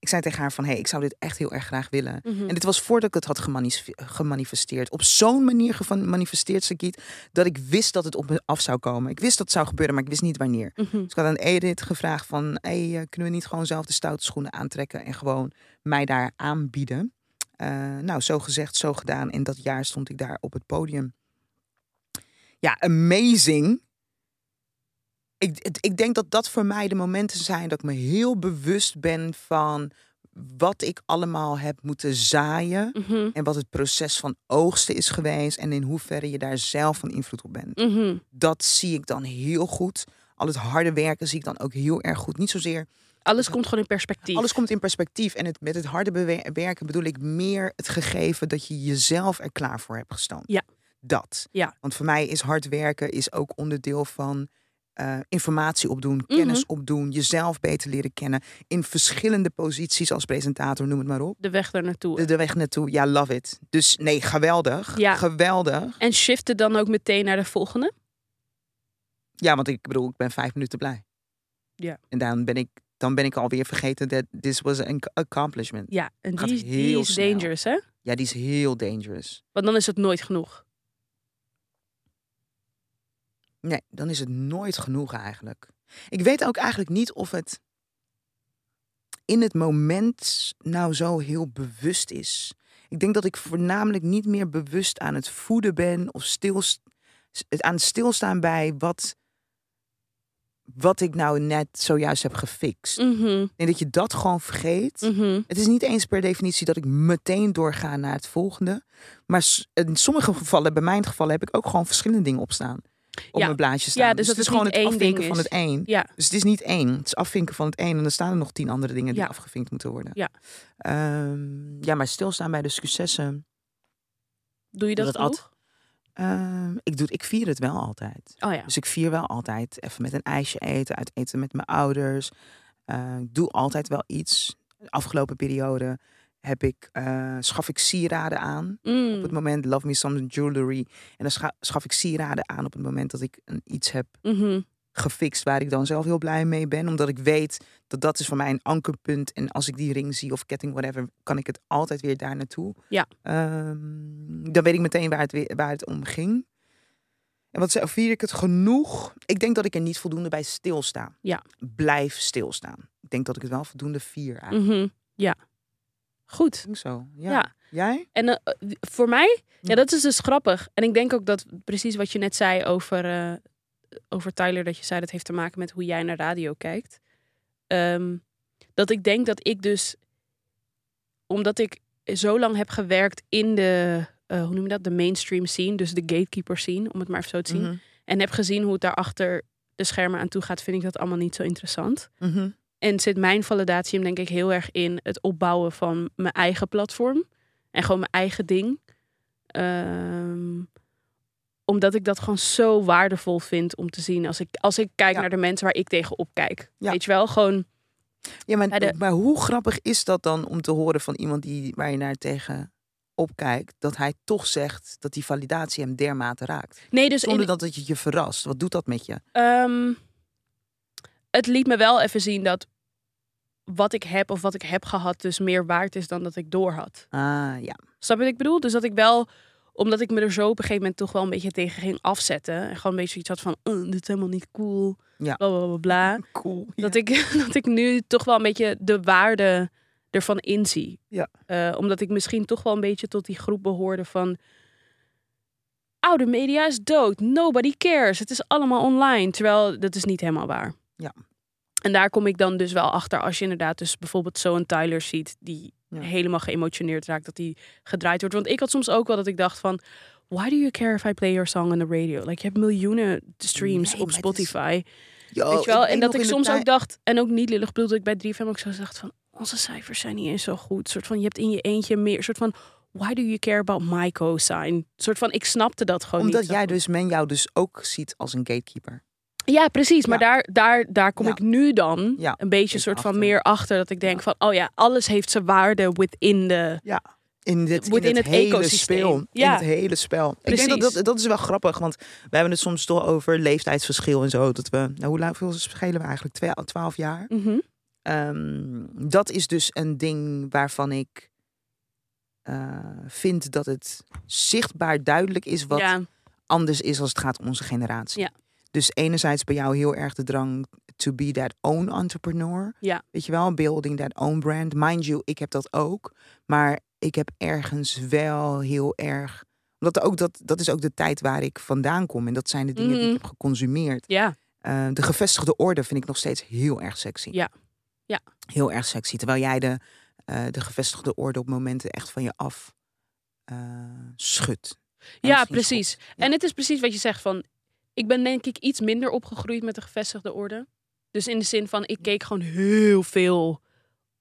Ik zei tegen haar van... Hé, hey, ik zou dit echt heel erg graag willen. Mhm. En dit was voordat ik het had gemanif- gemanifesteerd. Op zo'n manier gemanifesteerd, Sagitt, dat ik wist dat het op me af zou komen. Ik wist dat het zou gebeuren, maar ik wist niet wanneer. Mhm. Dus ik had aan Edith gevraagd van, hey, eh, kunnen we niet gewoon zelf de stoute schoenen aantrekken en gewoon mij daar aanbieden? Eh, nou, zo gezegd, zo gedaan. En dat jaar stond ik daar op het podium. Ja, amazing. Ik, het- ik denk dat dat voor mij de momenten zijn dat ik me heel bewust ben van wat ik allemaal heb moeten zaaien. Mhm. En wat het proces van oogsten is geweest. En in hoeverre je daar zelf van invloed op bent Mhm. dat zie ik dan heel goed. Al het harde werken zie ik dan ook heel erg goed. Niet zozeer. Alles komt gewoon in perspectief. Alles komt in perspectief. En het, met het harde bewe- werken bedoel ik meer het gegeven dat je jezelf er klaar voor hebt gestaan. Ja. Dat. Ja. Want voor mij is hard werken is ook onderdeel van eh, informatie opdoen, Mhm. kennis opdoen, jezelf beter leren kennen. In verschillende posities als presentator, noem het maar op. De weg daar naartoe. De, de weg naartoe, ja, love it. Dus nee, geweldig. Ja. Geweldig. En shiften dan ook meteen naar de volgende? Ja, want ik bedoel, ik ben vijf minuten blij. Ja. En dan ben ik, dan ben ik alweer vergeten dat this was an accomplishment. Ja, en Gaat die, is- die heel is snel. dangerous, hè? Ja, die is heel dangerous. Want dan is het nooit genoeg. Nee, dan is het nooit genoeg eigenlijk. Ik weet ook eigenlijk niet of het in het moment nou zo heel bewust is. Ik denk dat ik voornamelijk niet meer bewust aan het voeden ben of stil, het aan het stilstaan bij wat, wat ik nou net zojuist heb gefixt. Mhm. En dat je dat gewoon vergeet. Mhm. Het is niet eens per definitie dat ik meteen doorga naar het volgende. Maar s- in sommige gevallen, bij mijn gevallen, heb ik ook gewoon verschillende dingen opstaan. Op Ja. mijn blaadje staan. Ja, dus dat het het is gewoon niet het één ding afvinken van is. het één. Ja. Dus het is niet één. Het is afvinken van het één. En dan staan er nog tien andere dingen die Ja. afgevinkt moeten worden. Ja. Ehm, ja, maar stilstaan bij de successen. Doe je dat, Dat genoeg? at. Ehm, ik, doe, ik vier het wel altijd. Oh ja. Dus ik vier wel altijd even met een ijsje eten, uit eten met mijn ouders. Eh, Ik doe altijd wel iets. de afgelopen periode heb ik, eh, schaf ik sieraden aan. Mm, Op het moment Love Me Some Jewelry. En dan scha- schaf ik sieraden aan op het moment dat ik een, iets heb mhm. gefixt waar ik dan zelf heel blij mee ben. Omdat ik weet dat dat is voor mij een ankerpunt. En als ik die ring zie of ketting, whatever, kan ik het altijd weer daar naartoe. Ja. Ehm, dan weet ik meteen waar het, weer- waar het om ging. En wat ze- vier ik het genoeg? Ik denk dat ik er niet voldoende bij stilsta. Ja. Blijf stilstaan. Ik denk dat ik het wel voldoende vier eigenlijk. Mhm, Ja. Goed. Zo, ja. Ja. Jij? En eh, voor mij, Ja. ja, dat is dus grappig. En ik denk ook dat precies wat je net zei over, eh, over Tyler, dat je zei dat heeft te maken met hoe jij naar radio kijkt. Ehm, dat ik denk dat ik dus, omdat ik zo lang heb gewerkt in de, eh, hoe noem je dat, de mainstream scene, dus de gatekeeper scene, om het maar even zo te zien, Mhm. en heb gezien hoe het daarachter de schermen aan toe gaat, vind ik dat allemaal niet zo interessant. Mhm. En zit mijn validatie hem denk ik heel erg in het opbouwen van mijn eigen platform. En gewoon mijn eigen ding. Ehm, omdat ik dat gewoon zo waardevol vind om te zien. Als ik, als ik kijk Ja. naar de mensen waar ik tegen opkijk. Ja. Weet je wel, gewoon... Ja, maar, Bij de- maar hoe grappig is dat dan om te horen van iemand die, waar je naar tegen opkijkt, dat hij toch zegt dat die validatie hem dermate raakt? Nee, dus in, Zonder dat het je- je verrast. Wat doet dat met je? Ehm, het liet me wel even zien dat wat ik heb of wat ik heb gehad... dus meer waard is dan dat ik door had. Ah ja. Snap je wat ik bedoel? Dus dat ik wel, omdat ik me er zo op een gegeven moment toch wel een beetje tegen ging afzetten. En gewoon een beetje iets had van, "Eh, dit is helemaal niet cool. Ja. Bla bla bla bla. Cool. Ah, Dat, ik, (laughs) dat ik nu toch wel een beetje de waarde ervan inzie. Ja. Eh, omdat ik misschien toch wel een beetje tot die groep behoorde van. Oude media is dood. Nobody cares. Het is allemaal online. Terwijl dat is niet helemaal waar. Ja. En daar kom ik dan dus wel achter als je inderdaad dus bijvoorbeeld zo'n Tyler ziet die Ja. helemaal geëmotioneerd raakt dat die gedraaid wordt. Want ik had soms ook wel dat ik dacht van why do you care if I play your song on the radio? Like je hebt miljoenen streams Nee, op maar het is- Spotify. Oh, Weet je wel? En dat ik soms ook dacht, en ook niet lullig bedoel, dat ik bij 3FM ook zo dacht van... onze cijfers zijn niet eens zo goed. soort van, je hebt in je eentje meer... soort van, why do you care about my cosign? soort van, ik snapte dat gewoon Omdat Oh, niet. zo jij goed. dus, men jou dus ook ziet als een gatekeeper. Ja, precies. Maar Ja. daar, daar, daar kom Ja. ik nu dan Ja, een beetje ik soort van achter. meer achter. Dat ik denk van, oh ja, alles heeft zijn waarde within de... In, dit, in, Within het, het hele ecosysteem. spel. In Ja. het hele spel. Ik denk Precies. dat, dat dat is wel grappig, want we hebben het soms toch over leeftijdsverschil en zo. Dat we, nou, hoe lang hoeveel schelen we eigenlijk? Twee, twaalf jaar? Mhm. Ehm, dat is dus een ding waarvan ik eh, vind dat het zichtbaar duidelijk is wat Ja, anders is als het gaat om onze generatie. Ja. Dus enerzijds bij jou heel erg de drang to be that own entrepreneur. Ja. Weet je wel, building that own brand. Mind you, ik heb dat ook. Maar ik heb ergens wel heel erg... Omdat ook dat, dat is ook de tijd waar ik vandaan kom. En dat zijn de dingen die ik Mhm. heb geconsumeerd. ja, Eh, de gevestigde orde vind ik nog steeds heel erg sexy. Ja. Ja. Heel erg sexy. Terwijl jij de, eh, de gevestigde orde op momenten echt van je af eh, schudt. En ja misschien precies. schopt. Ja. En het is precies wat je zegt van... Ik ben denk ik iets minder opgegroeid met de gevestigde orde. Dus in de zin van, ik keek gewoon heel veel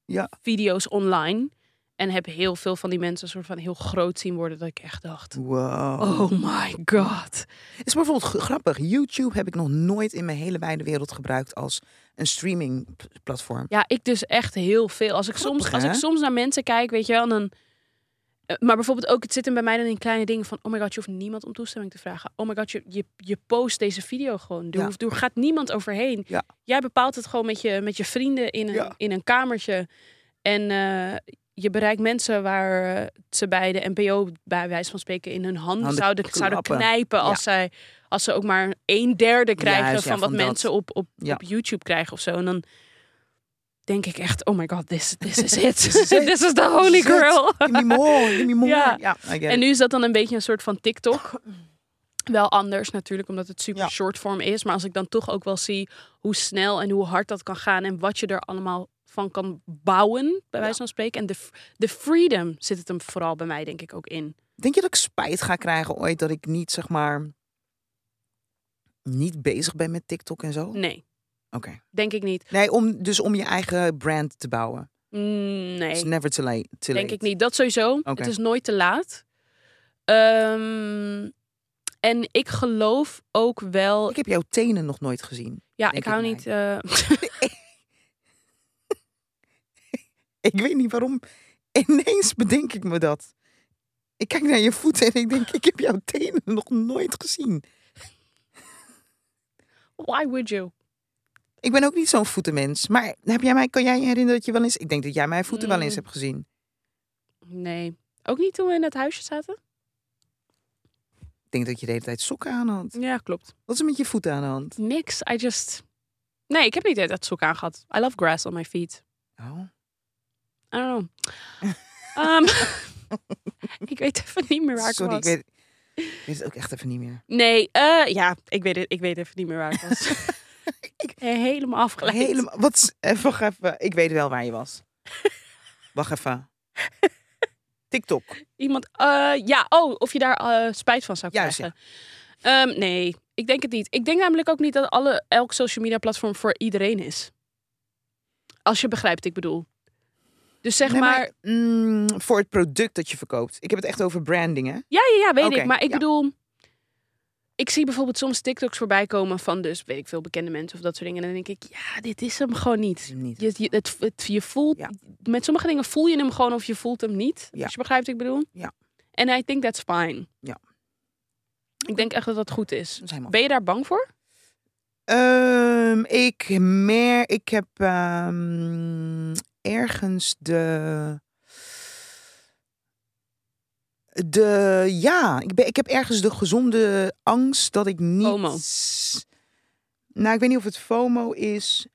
Ja. video's online. En heb heel veel van die mensen soort van heel groot zien worden. Dat ik echt dacht, Wow. oh my god. Het is bijvoorbeeld g- grappig. YouTube heb ik nog nooit in mijn hele wijde wereld gebruikt als een (laughs) streamingplatform. Ja, ik dus echt heel veel. Als ik, soms, Grappig, als hè? ik soms naar mensen kijk, weet je wel, dan... eh, Maar bijvoorbeeld ook, het zit hem bij mij dan in kleine dingen van... oh my god, je hoeft niemand om toestemming te vragen. Oh my god, je, je, je post deze video gewoon. Er, Ja. hoeft, er gaat niemand overheen. Ja. Jij bepaalt het gewoon met je, met je vrienden in een, Ja. in een kamertje. En eh, je bereikt mensen waar eh, ze bij de NPO, bij wijze van spreken... in hun handen, Handen zouden, zouden klappen. knijpen als, zij, als ze ook maar een derde krijgen... Juist, ja, van wat van dat. mensen op, op, Ja. op YouTube krijgen of zo. En dan denk ik echt, oh my god, this, this (laughs) is it. This (laughs) is it. this is the holy This is it. grail. Give me more, give me more. Ja. Ja, I get (laughs) En it. nu is dat dan een beetje een soort van TikTok. Wel anders natuurlijk, omdat het super Oh. Ja. short form is. Maar als ik dan toch ook wel zie hoe snel en hoe hard dat kan gaan. En wat je er allemaal van kan bouwen, bij wijze van spreken. En de, f- de freedom zit het hem vooral bij mij, denk ik, ook in. Denk je dat ik spijt ga krijgen ooit dat ik niet, zeg maar, niet bezig ben met TikTok en zo? Oké. Nee, denk ik niet. Nee, om, dus om je eigen brand te bouwen. Mm, Nee. It's never too late. too Denk late. ik niet. Dat sowieso. Oké. Het is nooit te laat. Ehm, en ik geloof ook wel. Ik heb jouw tenen nog nooit gezien. ja, denk ik ik hou mij. niet. eh, Ik weet niet waarom. Ineens bedenk ik me dat. Ik kijk naar je voeten en ik denk, ik heb jouw tenen nog nooit gezien. (laughs) Why would you? Ik ben ook niet zo'n voetenmens. Maar heb jij mij, kan jij je herinneren dat je wel eens... Ik denk dat jij mijn voeten wel eens Mm. hebt gezien. Nee. Ook niet toen we in het huisje zaten? Ik denk dat je de hele tijd sokken aan had. Ja, klopt. Wat is er met je voeten aan de hand? Niks. I just... Nee, ik heb niet dat zoek aan gehad. I love grass on my feet. Oh. I (laughs) don't know. Ehm, (laughs) ik weet even niet meer waar ik Sorry, ik was. weet, ik weet het ook echt even niet meer. Nee, eh, ja, ik weet, het, ik weet even niet meer waar ik was. (laughs) ik ben helemaal afgeleid. Helemaal. Wat? is- eh, Wacht even. Ik weet wel waar je (laughs) was. Wacht even. TikTok. Iemand, eh, ja, oh, of je daar eh, spijt van zou Juist, krijgen. Ehm, nee, ik denk het niet. Ik denk namelijk ook niet dat alle, elk social media platform voor iedereen is. Als je begrijpt, ik bedoel. Dus zeg Nee, maar, mm, voor het product dat je verkoopt. Ik heb het echt over branding, hè? Ja, ja, ja, weet Oké, ik. Maar ik ja. bedoel, ik zie bijvoorbeeld soms TikToks voorbij komen van dus, weet ik veel, bekende mensen of dat soort dingen. En dan denk ik, ja, dit is hem gewoon niet. Niet. Je, je, het, het- je voelt, Ja. met sommige dingen voel je hem gewoon of je voelt hem niet. Ja. Als je begrijpt wat ik bedoel. Ja. En I think that's fine. Ja. Ik denk echt dat dat goed is. Dat is helemaal- Ben je daar bang voor? Ehm, ik meer, ik heb ehm, ergens de. De ja, ik, ben, ik heb ergens de gezonde angst dat ik niet. FOMO. Nou, ik weet niet of het FOMO is.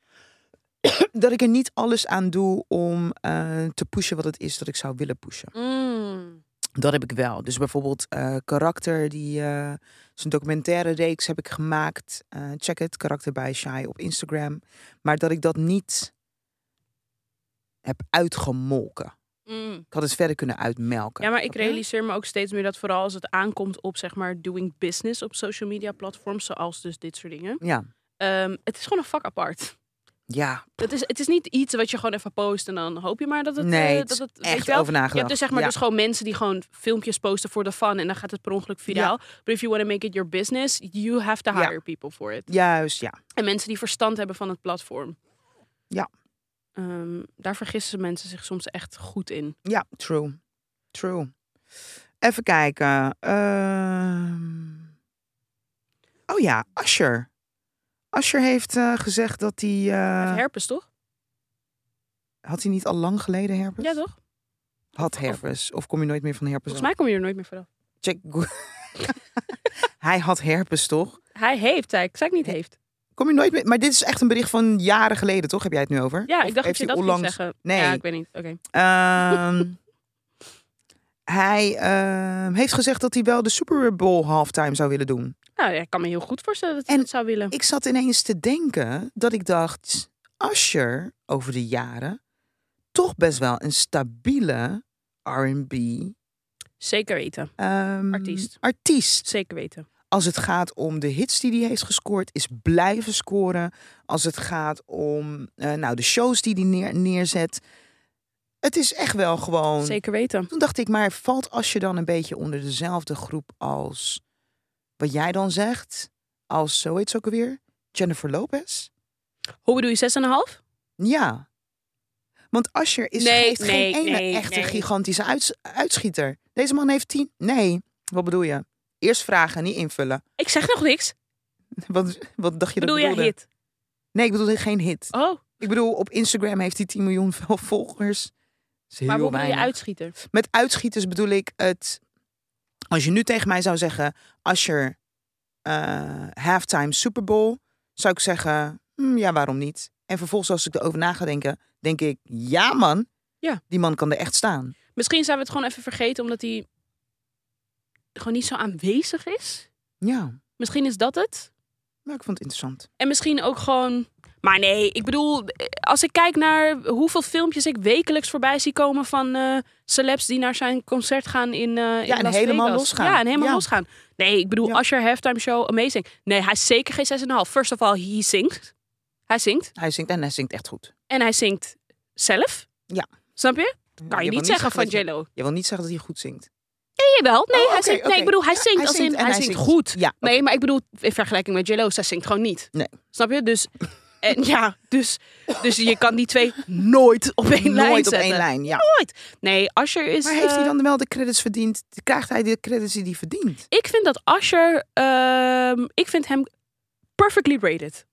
(clears throat) dat ik er niet alles aan doe om eh, te pushen wat het is dat ik zou willen pushen. Mm. Dat heb ik wel. Dus bijvoorbeeld eh, Karakter, die eh is een documentaire reeks heb ik gemaakt. Eh, check het, Karakter bij Shai op Instagram. Maar dat ik dat niet heb uitgemolken. Mm. Ik had het verder kunnen uitmelken. Ja, maar ik Snap je? realiseer me ook steeds meer dat vooral als het aankomt op zeg maar doing business op social media platforms, zoals dus dit soort dingen. Ja, ehm, het is gewoon een vak apart. ja. Dat is, het is niet iets wat je gewoon even post en dan hoop je maar dat het... eh, nee, het dat is het weet je echt wel? over Je hebt nagedacht. dus zeg maar ja. dus gewoon mensen die gewoon filmpjes posten voor de fun en dan gaat het per ongeluk viraal. But if you want to make it your business, you have to Ja. hire people for it. Juist, ja. En mensen die verstand hebben van het platform. Ja. Ehm, daar vergissen mensen zich soms echt goed in. Ja, true. True. Even kijken. ehm. Oh ja, Asher. Asher heeft eh, gezegd dat hij... eh, herpes toch? Had hij niet al lang geleden herpes? Ja toch? Had herpes. Of kom je nooit meer van herpes? Volgens mij kom je er nooit meer vanaf. af? Check. Go- (laughs) hij had herpes, toch? Hij heeft, hij. Ik zei ik niet heeft. Kom je nooit meer... Maar dit is echt een bericht van jaren geleden, toch? Heb jij het nu over? Ja, Of ik dacht dat heeft je hij dat onlangs... ging zeggen. Nee. Ja, ik weet niet. Oké. (laughs) Ehm, hij ehm, heeft gezegd dat hij wel de Super Bowl halftime zou willen doen. Nou, ja, ik kan me heel goed voorstellen dat hij En- dat zou willen. Ik zat ineens te denken dat ik dacht... Asher, over de jaren... toch best wel een stabiele R&B... Zeker weten. ehm, Artiest. artiest Zeker weten. als het gaat om de hits die hij heeft gescoord, is blijven scoren. Als het gaat om eh, nou, de shows die hij neer, neerzet. Het is echt wel gewoon. Zeker weten. Toen dacht ik, maar valt als je dan een beetje onder dezelfde groep als wat jij dan zegt, als zo heet ze ook alweer? Jennifer Lopez? Hoe bedoel je 6,5? Ja. Want Asher is, Nee, heeft nee, geen ene nee, echte nee. gigantische uits- uitschieter. Deze man heeft tien. Nee, wat bedoel je? Eerst vragen, niet invullen. (laughs) Ik zeg nog niks. Wat, wat dacht je bedoel dat ik je bedoelde? hit? Nee, ik bedoel geen hit. Oh, Ik bedoel, op Instagram heeft hij 10 miljoen vol- (laughs) volgers. Dat is heel maar hoe bedoel je weinig. uitschieter? Met uitschieters bedoel ik het... Als je nu tegen mij zou zeggen... Asher, eh halftime Super Bowl... zou ik zeggen, "Hm, ja, waarom niet? En vervolgens als ik erover na ga denken... denk ik, ja man, Ja. die man kan er echt staan. Misschien zijn we het gewoon even vergeten omdat hij gewoon niet zo aanwezig is. Ja, Misschien is dat het. maar ik vond het interessant. En misschien ook gewoon. Maar nee, ik bedoel, eh, als ik kijk naar hoeveel filmpjes ik wekelijks voorbij zie komen van eh, celebs die naar zijn concert gaan in. eh in Ja, en Las helemaal Vegas. losgaan. Ja, en helemaal Ja. losgaan. Nee, ik bedoel, Ja. als je halftime show, amazing. Nee, hij is zeker geen 6,5. First of all, he zingt. Hij zingt. Hij zingt en hij zingt echt goed. En hij zingt zelf. Ja. Snap je? Kan je, wil niet zeggen van dat hij- Jello. Je wil niet zeggen dat hij goed zingt. Jawel, nee, Oh, hij oké, zingt, nee, oké. ik bedoel, hij Ja, zingt als in, en hij zingt goed. Ja, Nee, maar ik bedoel, in vergelijking met Jello, zij zingt gewoon niet. Nee. Snap je? Dus En (laughs) ja, dus, dus je kan die twee nooit op één lijn Nooit op zetten. één lijn, ja. Nee, Asher is... Maar heeft hij eh, dan wel de credits verdiend? Krijgt hij de credits die hij verdient? Ik vind dat Asher... ehm, ik vind hem perfectly (laughs) rated.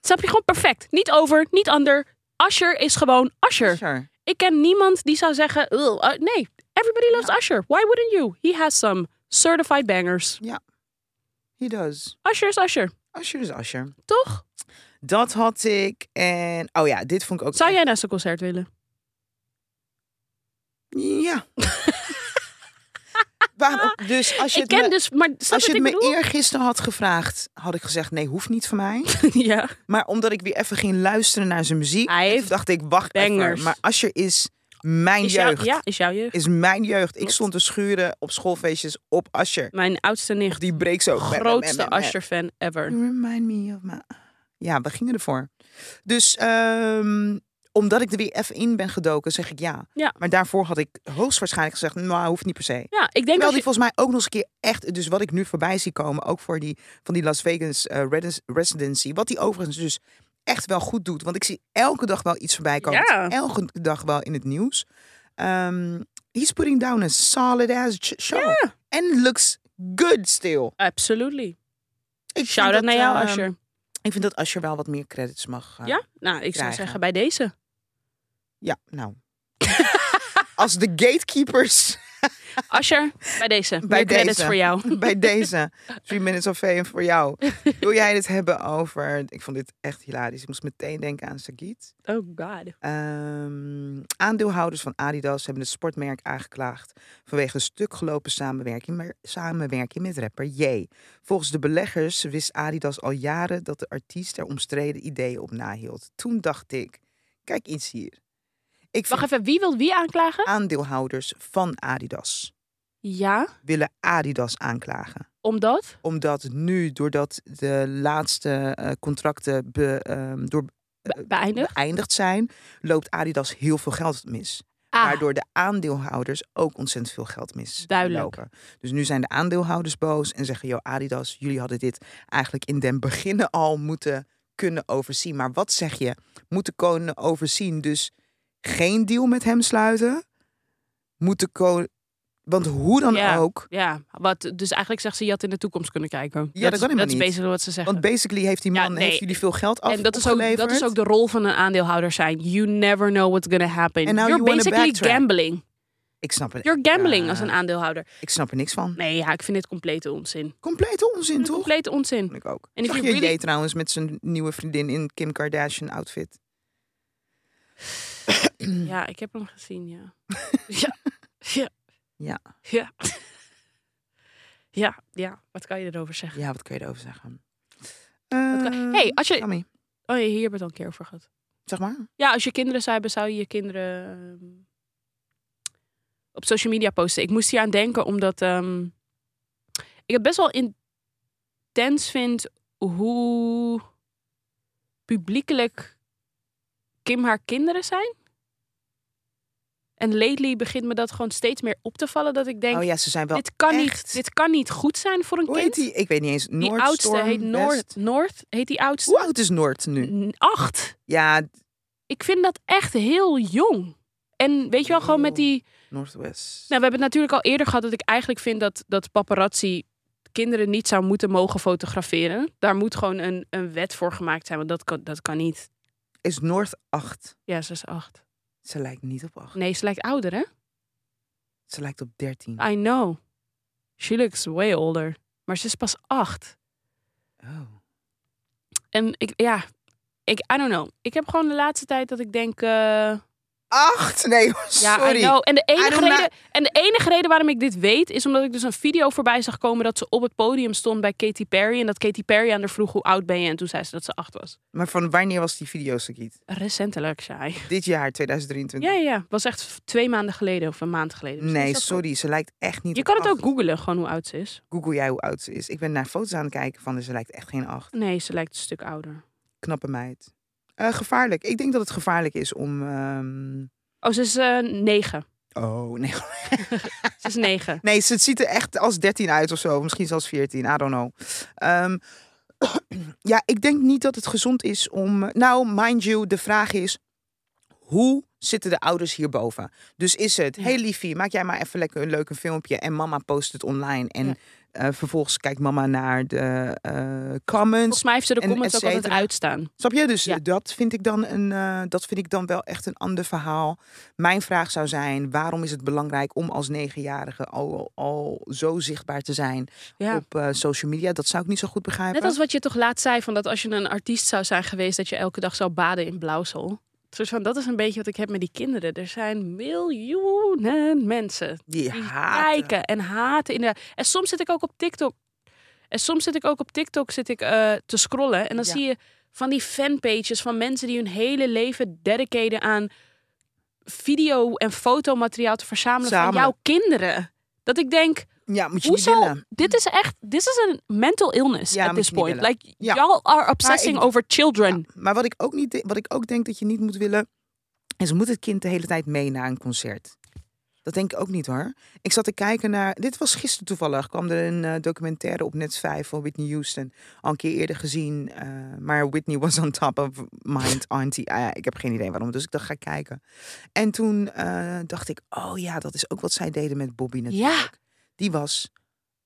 Snap je? Gewoon perfect. Niet over, niet ander. Asher is gewoon Asher. Sure. Ik ken niemand die zou zeggen... "Ugh, eh, nee, everybody loves Asher. Why wouldn't you? He has some certified bangers. He does. Asher is Asher, Asher is Asher. toch? Dat had ik. En, oh ja, dit vond ik ook... Zou jij naar zijn concert willen? Ja. (laughs) Waarom? Dus als je Ik het ken me, dus... Maar snap als je je het wat me ik bedoel? eergisteren had gevraagd, had ik gezegd: nee, hoeft niet van (laughs) mij. ja. Maar omdat ik weer even ging luisteren naar zijn muziek, Hij en toen heeft dacht ik: wacht bangers. even. Maar Asher is mijn Is jouw, jeugd. ja, is jouw jeugd. Is mijn jeugd. Ik Klopt. stond te schuren op schoolfeestjes op Asher. Mijn oudste nicht. Die breekt zo. Grootste Asher-fan ever. You remind me of my... Ja, we gingen ervoor. Dus ehm, omdat ik er weer even in ben gedoken, zeg ik ja. Ja. Maar daarvoor had ik hoogstwaarschijnlijk gezegd, nou, hoeft niet per se. Ja, ik denk Terwijl dat die volgens mij ook nog eens een keer echt... Dus wat ik nu voorbij zie komen, ook voor die, van die Las Vegas eh, redis- residency. Wat die overigens dus echt wel goed doet. Want ik zie elke dag wel iets voorbij komen. Ja. Het is Elke dag wel in het nieuws. Ehm, he's putting down a solid ass ch- show. And looks good still. Absolutely. Ik vind Shout-out dat, naar jou, ehm, Asher. ik vind dat Asher wel wat meer credits mag. eh, Ja? Nou, ik zou krijgen. zeggen bij deze. (laughs) Ja, nou. (laughs) Als de gatekeepers (laughs) Asher, bij deze. Bij Meer credits deze. voor jou. (laughs) bij deze Three Minutes of Fame voor jou. Wil jij het hebben over... Ik vond dit echt hilarisch. Ik moest meteen denken aan Sagit. Oh god. Ehm, aandeelhouders van Adidas hebben het sportmerk aangeklaagd vanwege een stuk gelopen samenwerking, maar samenwerking met rapper J. Volgens de beleggers wist Adidas al jaren dat de artiest er omstreden ideeën op nahield. Toen dacht ik, kijk iets hier. Ik Wacht vind even, wie wil wie aanklagen? aandeelhouders van Adidas Ja, willen Adidas aanklagen omdat? omdat nu, doordat de laatste eh, contracten be- ehm, door, Be- beëindigd? beëindigd zijn, loopt Adidas heel veel geld mis. Ah, waardoor de aandeelhouders ook ontzettend veel geld mislopen. Duidelijk. Dus nu zijn de aandeelhouders boos en zeggen: Yo, Adidas, jullie hadden dit eigenlijk in den beginnen al moeten kunnen overzien. Maar wat zeg je? Moeten kunnen overzien, dus geen deal met hem sluiten? Moeten ko- Want hoe dan Ja. ook. ja. Wat, dus eigenlijk zegt ze, je had in de toekomst kunnen kijken. dat is, kan helemaal Dat is niet. basically wat ze zeggen. Want basically heeft die Ja, man nee. heeft jullie veel geld af, en dat is, ook, dat opgeleverd. is ook de rol van een aandeelhouder zijn. You never know what's gonna happen. And now You're nou, you wanna basically backtrack. gambling. Ik snap het. You're gambling Ja, als een aandeelhouder. Ik snap er niks van. Nee, ja, ik vind dit complete onzin. Complete onzin, toch? Complete onzin. Ik ook. En if Zag you je really- Jay trouwens met zijn nieuwe vriendin in Kim Kardashian outfit? Mm. Ja, ik heb hem gezien, (laughs) ja. ja. Ja. Ja. Ja. (laughs) Ja, ja. Wat kan je erover zeggen? Ja, wat kun je erover zeggen? kan- Eh, Hey, als je... Tammy, Oh, ja, hier hebben we het al een keer over gehad. zeg maar. Ja, als je kinderen zou hebben, zou je je kinderen ehm, op social media posten. Ik moest hier aan denken, omdat ehm, ik het best wel intens vind hoe publiekelijk Kim haar kinderen zijn. En lately begint me dat gewoon steeds meer op te vallen. Dat ik denk, Oh ja, ze zijn wel. dit, kan echt. niet, dit kan niet goed zijn voor een Hoe heet kind. die? Ik weet niet eens. Die Noord, oudste Storm, heet Noord. West. Noord heet die oudste. Hoe oud is Noord nu? N- Acht. Ja, Ik vind dat echt heel jong. En weet je wel, gewoon met Oh. die... Noordwest. Nou, we hebben het natuurlijk al eerder gehad dat ik eigenlijk vind dat, dat paparazzi kinderen niet zou moeten mogen fotograferen. Daar moet gewoon een, een wet voor gemaakt zijn, want dat kan, dat kan niet. Is Noord 8? Ja, ze is acht. Ze lijkt niet op 8. Nee, ze lijkt ouder, hè? Ze lijkt op 13. I know. She looks way older. Maar ze is pas acht. Oh. En ik, ja, ik, I don't know. Ik heb gewoon de laatste tijd dat ik denk... eh, 8? Nee, Ja, sorry. I know. En de, enige don't know. reden, en de enige reden waarom ik dit weet is omdat ik dus een video voorbij zag komen dat ze op het podium stond bij Katy Perry. En dat Katy Perry aan haar vroeg hoe oud ben je. En toen zei ze dat ze acht was. Maar van wanneer was die video, Sagiet? Recentelijk, saai. Dit jaar, 2023? Ja, ja, ja. Was echt twee maanden geleden of een maand geleden. misschien. Is Nee, dat sorry. Ze lijkt echt zo? niet Je op kan het acht. ook googlen, gewoon hoe oud ze is. Google jij hoe oud ze is. Ik ben naar foto's aan het kijken van, dus ze lijkt echt geen 8. Nee, ze lijkt een stuk ouder. Knappe meid. Eh, gevaarlijk. Ik denk dat het gevaarlijk is om... ehm, Oh, ze is eh, negen. Oh, (laughs) nee. (laughs) Ze is negen. Nee, ze- het ziet er echt als 13 uit of zo. Misschien zelfs 14. I don't know. Ehm, (clears throat) Ja, ik denk niet dat het gezond is om. Nou, mind you, de vraag is: hoe zitten de ouders hierboven? Dus is het, Ja. hey liefie, maak jij maar even lekker een leuk filmpje en mama post het online. En Ja. eh, vervolgens kijkt mama naar de eh, comments. Volgens mij heeft ze de En comments et ook altijd cetera. uitstaan. Snap je? Dus Ja. dat, vind ik dan een, eh, dat vind ik dan wel echt een ander verhaal. Mijn vraag zou zijn: waarom is het belangrijk om als negenjarige al, al zo zichtbaar te zijn Ja. op eh, social media? Dat zou ik niet zo goed begrijpen. Net als wat je toch laatst zei, van dat als je een artiest zou zijn geweest, dat je elke dag zou baden in blauwsel. Een soort van, dat is een beetje wat ik heb met die kinderen. Er zijn miljoenen mensen die eh, die haten. kijken en haten. Inderdaad. En soms zit ik ook op TikTok. En soms zit ik ook op TikTok zit ik, eh, te scrollen. En dan Ja. zie je van die fanpages van mensen die hun hele leven dedicaten aan video- en fotomateriaal te verzamelen van Zamelen. jouw kinderen. Dat ik denk, Ja, moet je niet hoezo? willen. Dit is echt, this is een mental illness Ja, at moet this je niet point. willen. Like, Ja. y'all are obsessing ik- over children. Maar wat ik ook niet, wat ik ook denk dat je niet moet willen, is moet het kind de hele tijd mee naar een concert. Dat denk ik ook niet hoor. Ik zat te kijken naar. Dit was gisteren toevallig. kwam er een eh, documentaire op net 5 van Whitney Houston. Al een keer eerder gezien. eh, maar Whitney was on top of mind, auntie. Ah ja, ik heb geen idee waarom. Dus ik dacht, ga kijken. En toen eh, dacht ik, oh ja, dat is ook wat zij deden met Bobby natuurlijk. Die was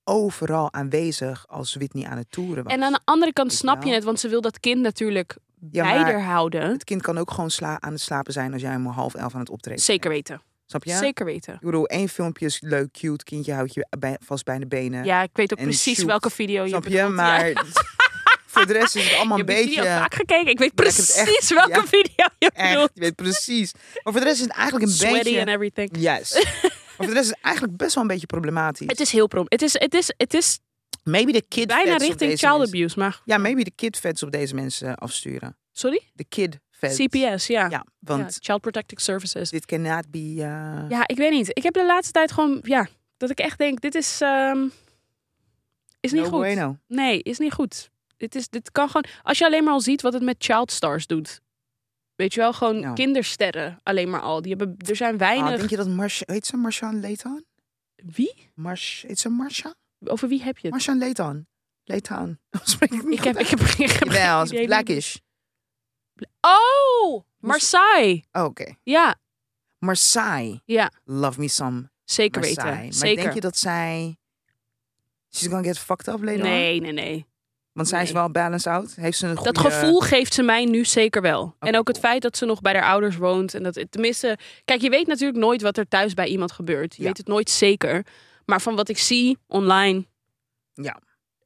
overal aanwezig als Whitney aan het toeren was. En aan de andere kant Weet je snap je wel? het, want ze wil dat kind natuurlijk Ja, bij maar- haar houden. Het kind kan ook gewoon sla aan het slapen zijn als jij hem om half elf aan het optreden Zeker bent. weten. Snap je? Zeker weten. Ik bedoel, één filmpje is leuk, cute, kindje houdt je bij, vast bij de benen. Ja, ik weet ook En precies shoot. welke video je Snap je? bedoelt. Ja. maar (laughs) voor de rest is (laughs) het allemaal Je een hebt die video beetje... vaak gekeken. Ik weet Maar ik heb het precies echt- welke ja. video je Echt, bedoelt. je weet precies. Maar voor de rest is het eigenlijk een Sweaty beetje... Mm. en everything. (laughs) Yes. maar voor de rest is het eigenlijk best wel een beetje problematisch. Het is heel prom. Het is, het is, het is maybe de kid bijna vets op richting deze child mensen- abuse, maar Ja, maybe de kid vets op deze mensen eh, afsturen. sorry? De kid vets. CPS, ja. Ja, Ja, want Child Protective Services. dit cannot be... eh, Ja, ik weet niet. Ik heb de laatste tijd gewoon, ja, dat ik echt denk, dit is, ehm, is niet no goed. bueno. Nee, is niet goed. Dit, is, dit kan gewoon. Als je alleen maar al ziet wat het met child stars doet. Weet je wel, gewoon Ja. kindersterren alleen maar al. Die hebben, er zijn weinig. Ah, denk je dat Marsha... Heet ze Marshawn Leighton? Wie? Mars... Heet ze Marsha? Over wie heb je het? Marshawn Leighton. (laughs) Leighton. Spreek ik niet Ik heb, goed ik heb, ik heb geen uit? Jawel, ze is idee wie- blackish. Oh, Marseille. Oh, Oké. Ja, Marseille. ja, Love me some zeker Marseille. Maar weten. Zeker. denk je dat zij... She's gonna get fucked up later on? nee, nee, nee. Want zij is nee. wel balanced out. Heeft ze een goede... Oh. Dat gevoel geeft ze mij nu zeker wel. en ook het cool. feit dat ze nog bij haar ouders woont. En dat het tenminste. Kijk, je weet natuurlijk nooit wat er thuis bij iemand gebeurt. Je Ja. weet het nooit zeker. Maar van wat ik zie online. Ja.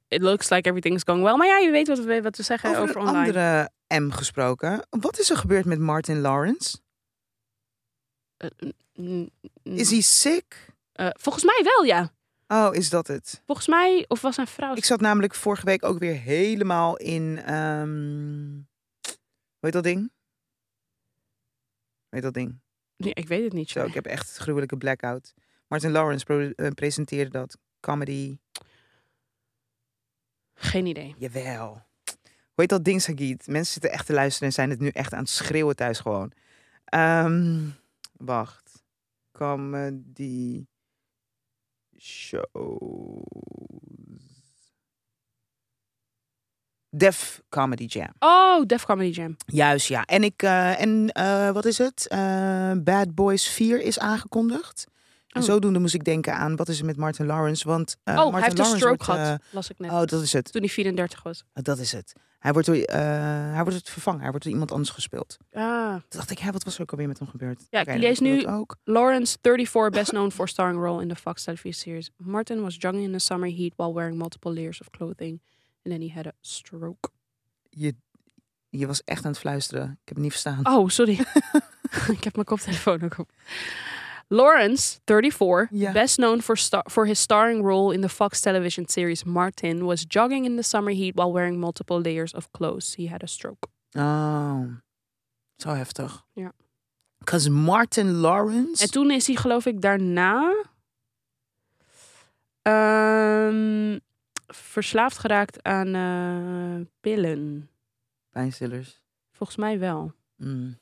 It looks like everything is going well. Maar ja, je weet wat we, wat we zeggen Over, over, een online. andere M gesproken. Wat is er gebeurd met Martin Lawrence? Mm, mm. Is hij sick? Eh, volgens mij wel, ja. Oh, is dat het? Volgens mij. Of was zijn vrouw. Ik zat namelijk vorige week ook weer helemaal in. ehm hoe heet dat ding? Hoe heet dat ding? Nee, ik weet het niet. Zo, sorry. ik heb echt gruwelijke blackout. Martin Lawrence pro- eh, presenteerde dat. Comedy. Geen idee. Jawel. Hoe heet dat ding, Sagit? Mensen zitten echt te luisteren en zijn het nu echt aan het schreeuwen thuis gewoon. Ehm, wacht. Comedy shows. Def Comedy Jam. Oh, Def Comedy Jam. Juist, ja. En, ik, eh, en eh, wat is het? Eh, Bad Boys 4 is aangekondigd. En Oh. zodoende moest ik denken aan wat is er met Martin Lawrence. Want eh, oh, Martin hij heeft een Lawrence stroke wordt, gehad. las ik net. eh, oh, dat is het. Toen hij 34 was. Dat is het. Hij wordt, door, eh, hij wordt het vervangen. Hij wordt door iemand anders gespeeld. Ah. Toen dacht ik, hè, wat was er ook alweer met hem gebeurd? Ja, ik Oké, lees dan nu- dat Ook. Lawrence, 34, best known for starring role in the Fox television series. Martin was jogging in the summer heat while wearing multiple layers of clothing, and then he had a stroke. Je, je was echt aan het fluisteren. Ik heb het niet verstaan. Oh, sorry. (laughs) Ik heb mijn koptelefoon ook op. (laughs) Lawrence, 34, Ja. best known for, star- for his starring role in the Fox television series Martin, was jogging in the summer heat while wearing multiple layers of clothes. He had a stroke. Oh. Zo heftig. Ja. Because Martin Lawrence... En toen is hij, geloof ik, daarna ehm, verslaafd geraakt aan eh, pillen. Pijnstillers. Volgens mij wel. Mm.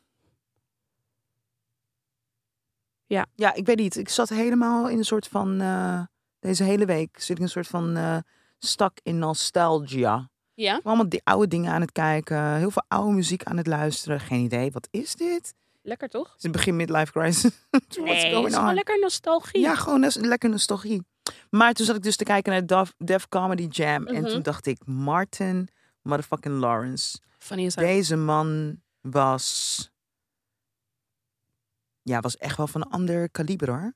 Ja. Ja, ik weet niet. Ik zat helemaal in een soort van... eh, deze hele week zit ik in een soort van... eh, stak in nostalgia. Ja. Ik ben Allemaal die oude dingen aan het kijken. Heel veel oude muziek aan het luisteren. Geen idee. Wat is dit? Het Lekker toch? is het begin midlife crisis. What's Nee, het going is on? gewoon lekker nostalgie. Ja, gewoon nes- lekker nostalgie. Maar toen zat ik dus te kijken naar Def, Def Comedy Jam. Mhm. En toen dacht ik, Martin motherfucking Lawrence. Funny is that. Deze man was... Ja, was echt wel van een ander kaliber hoor.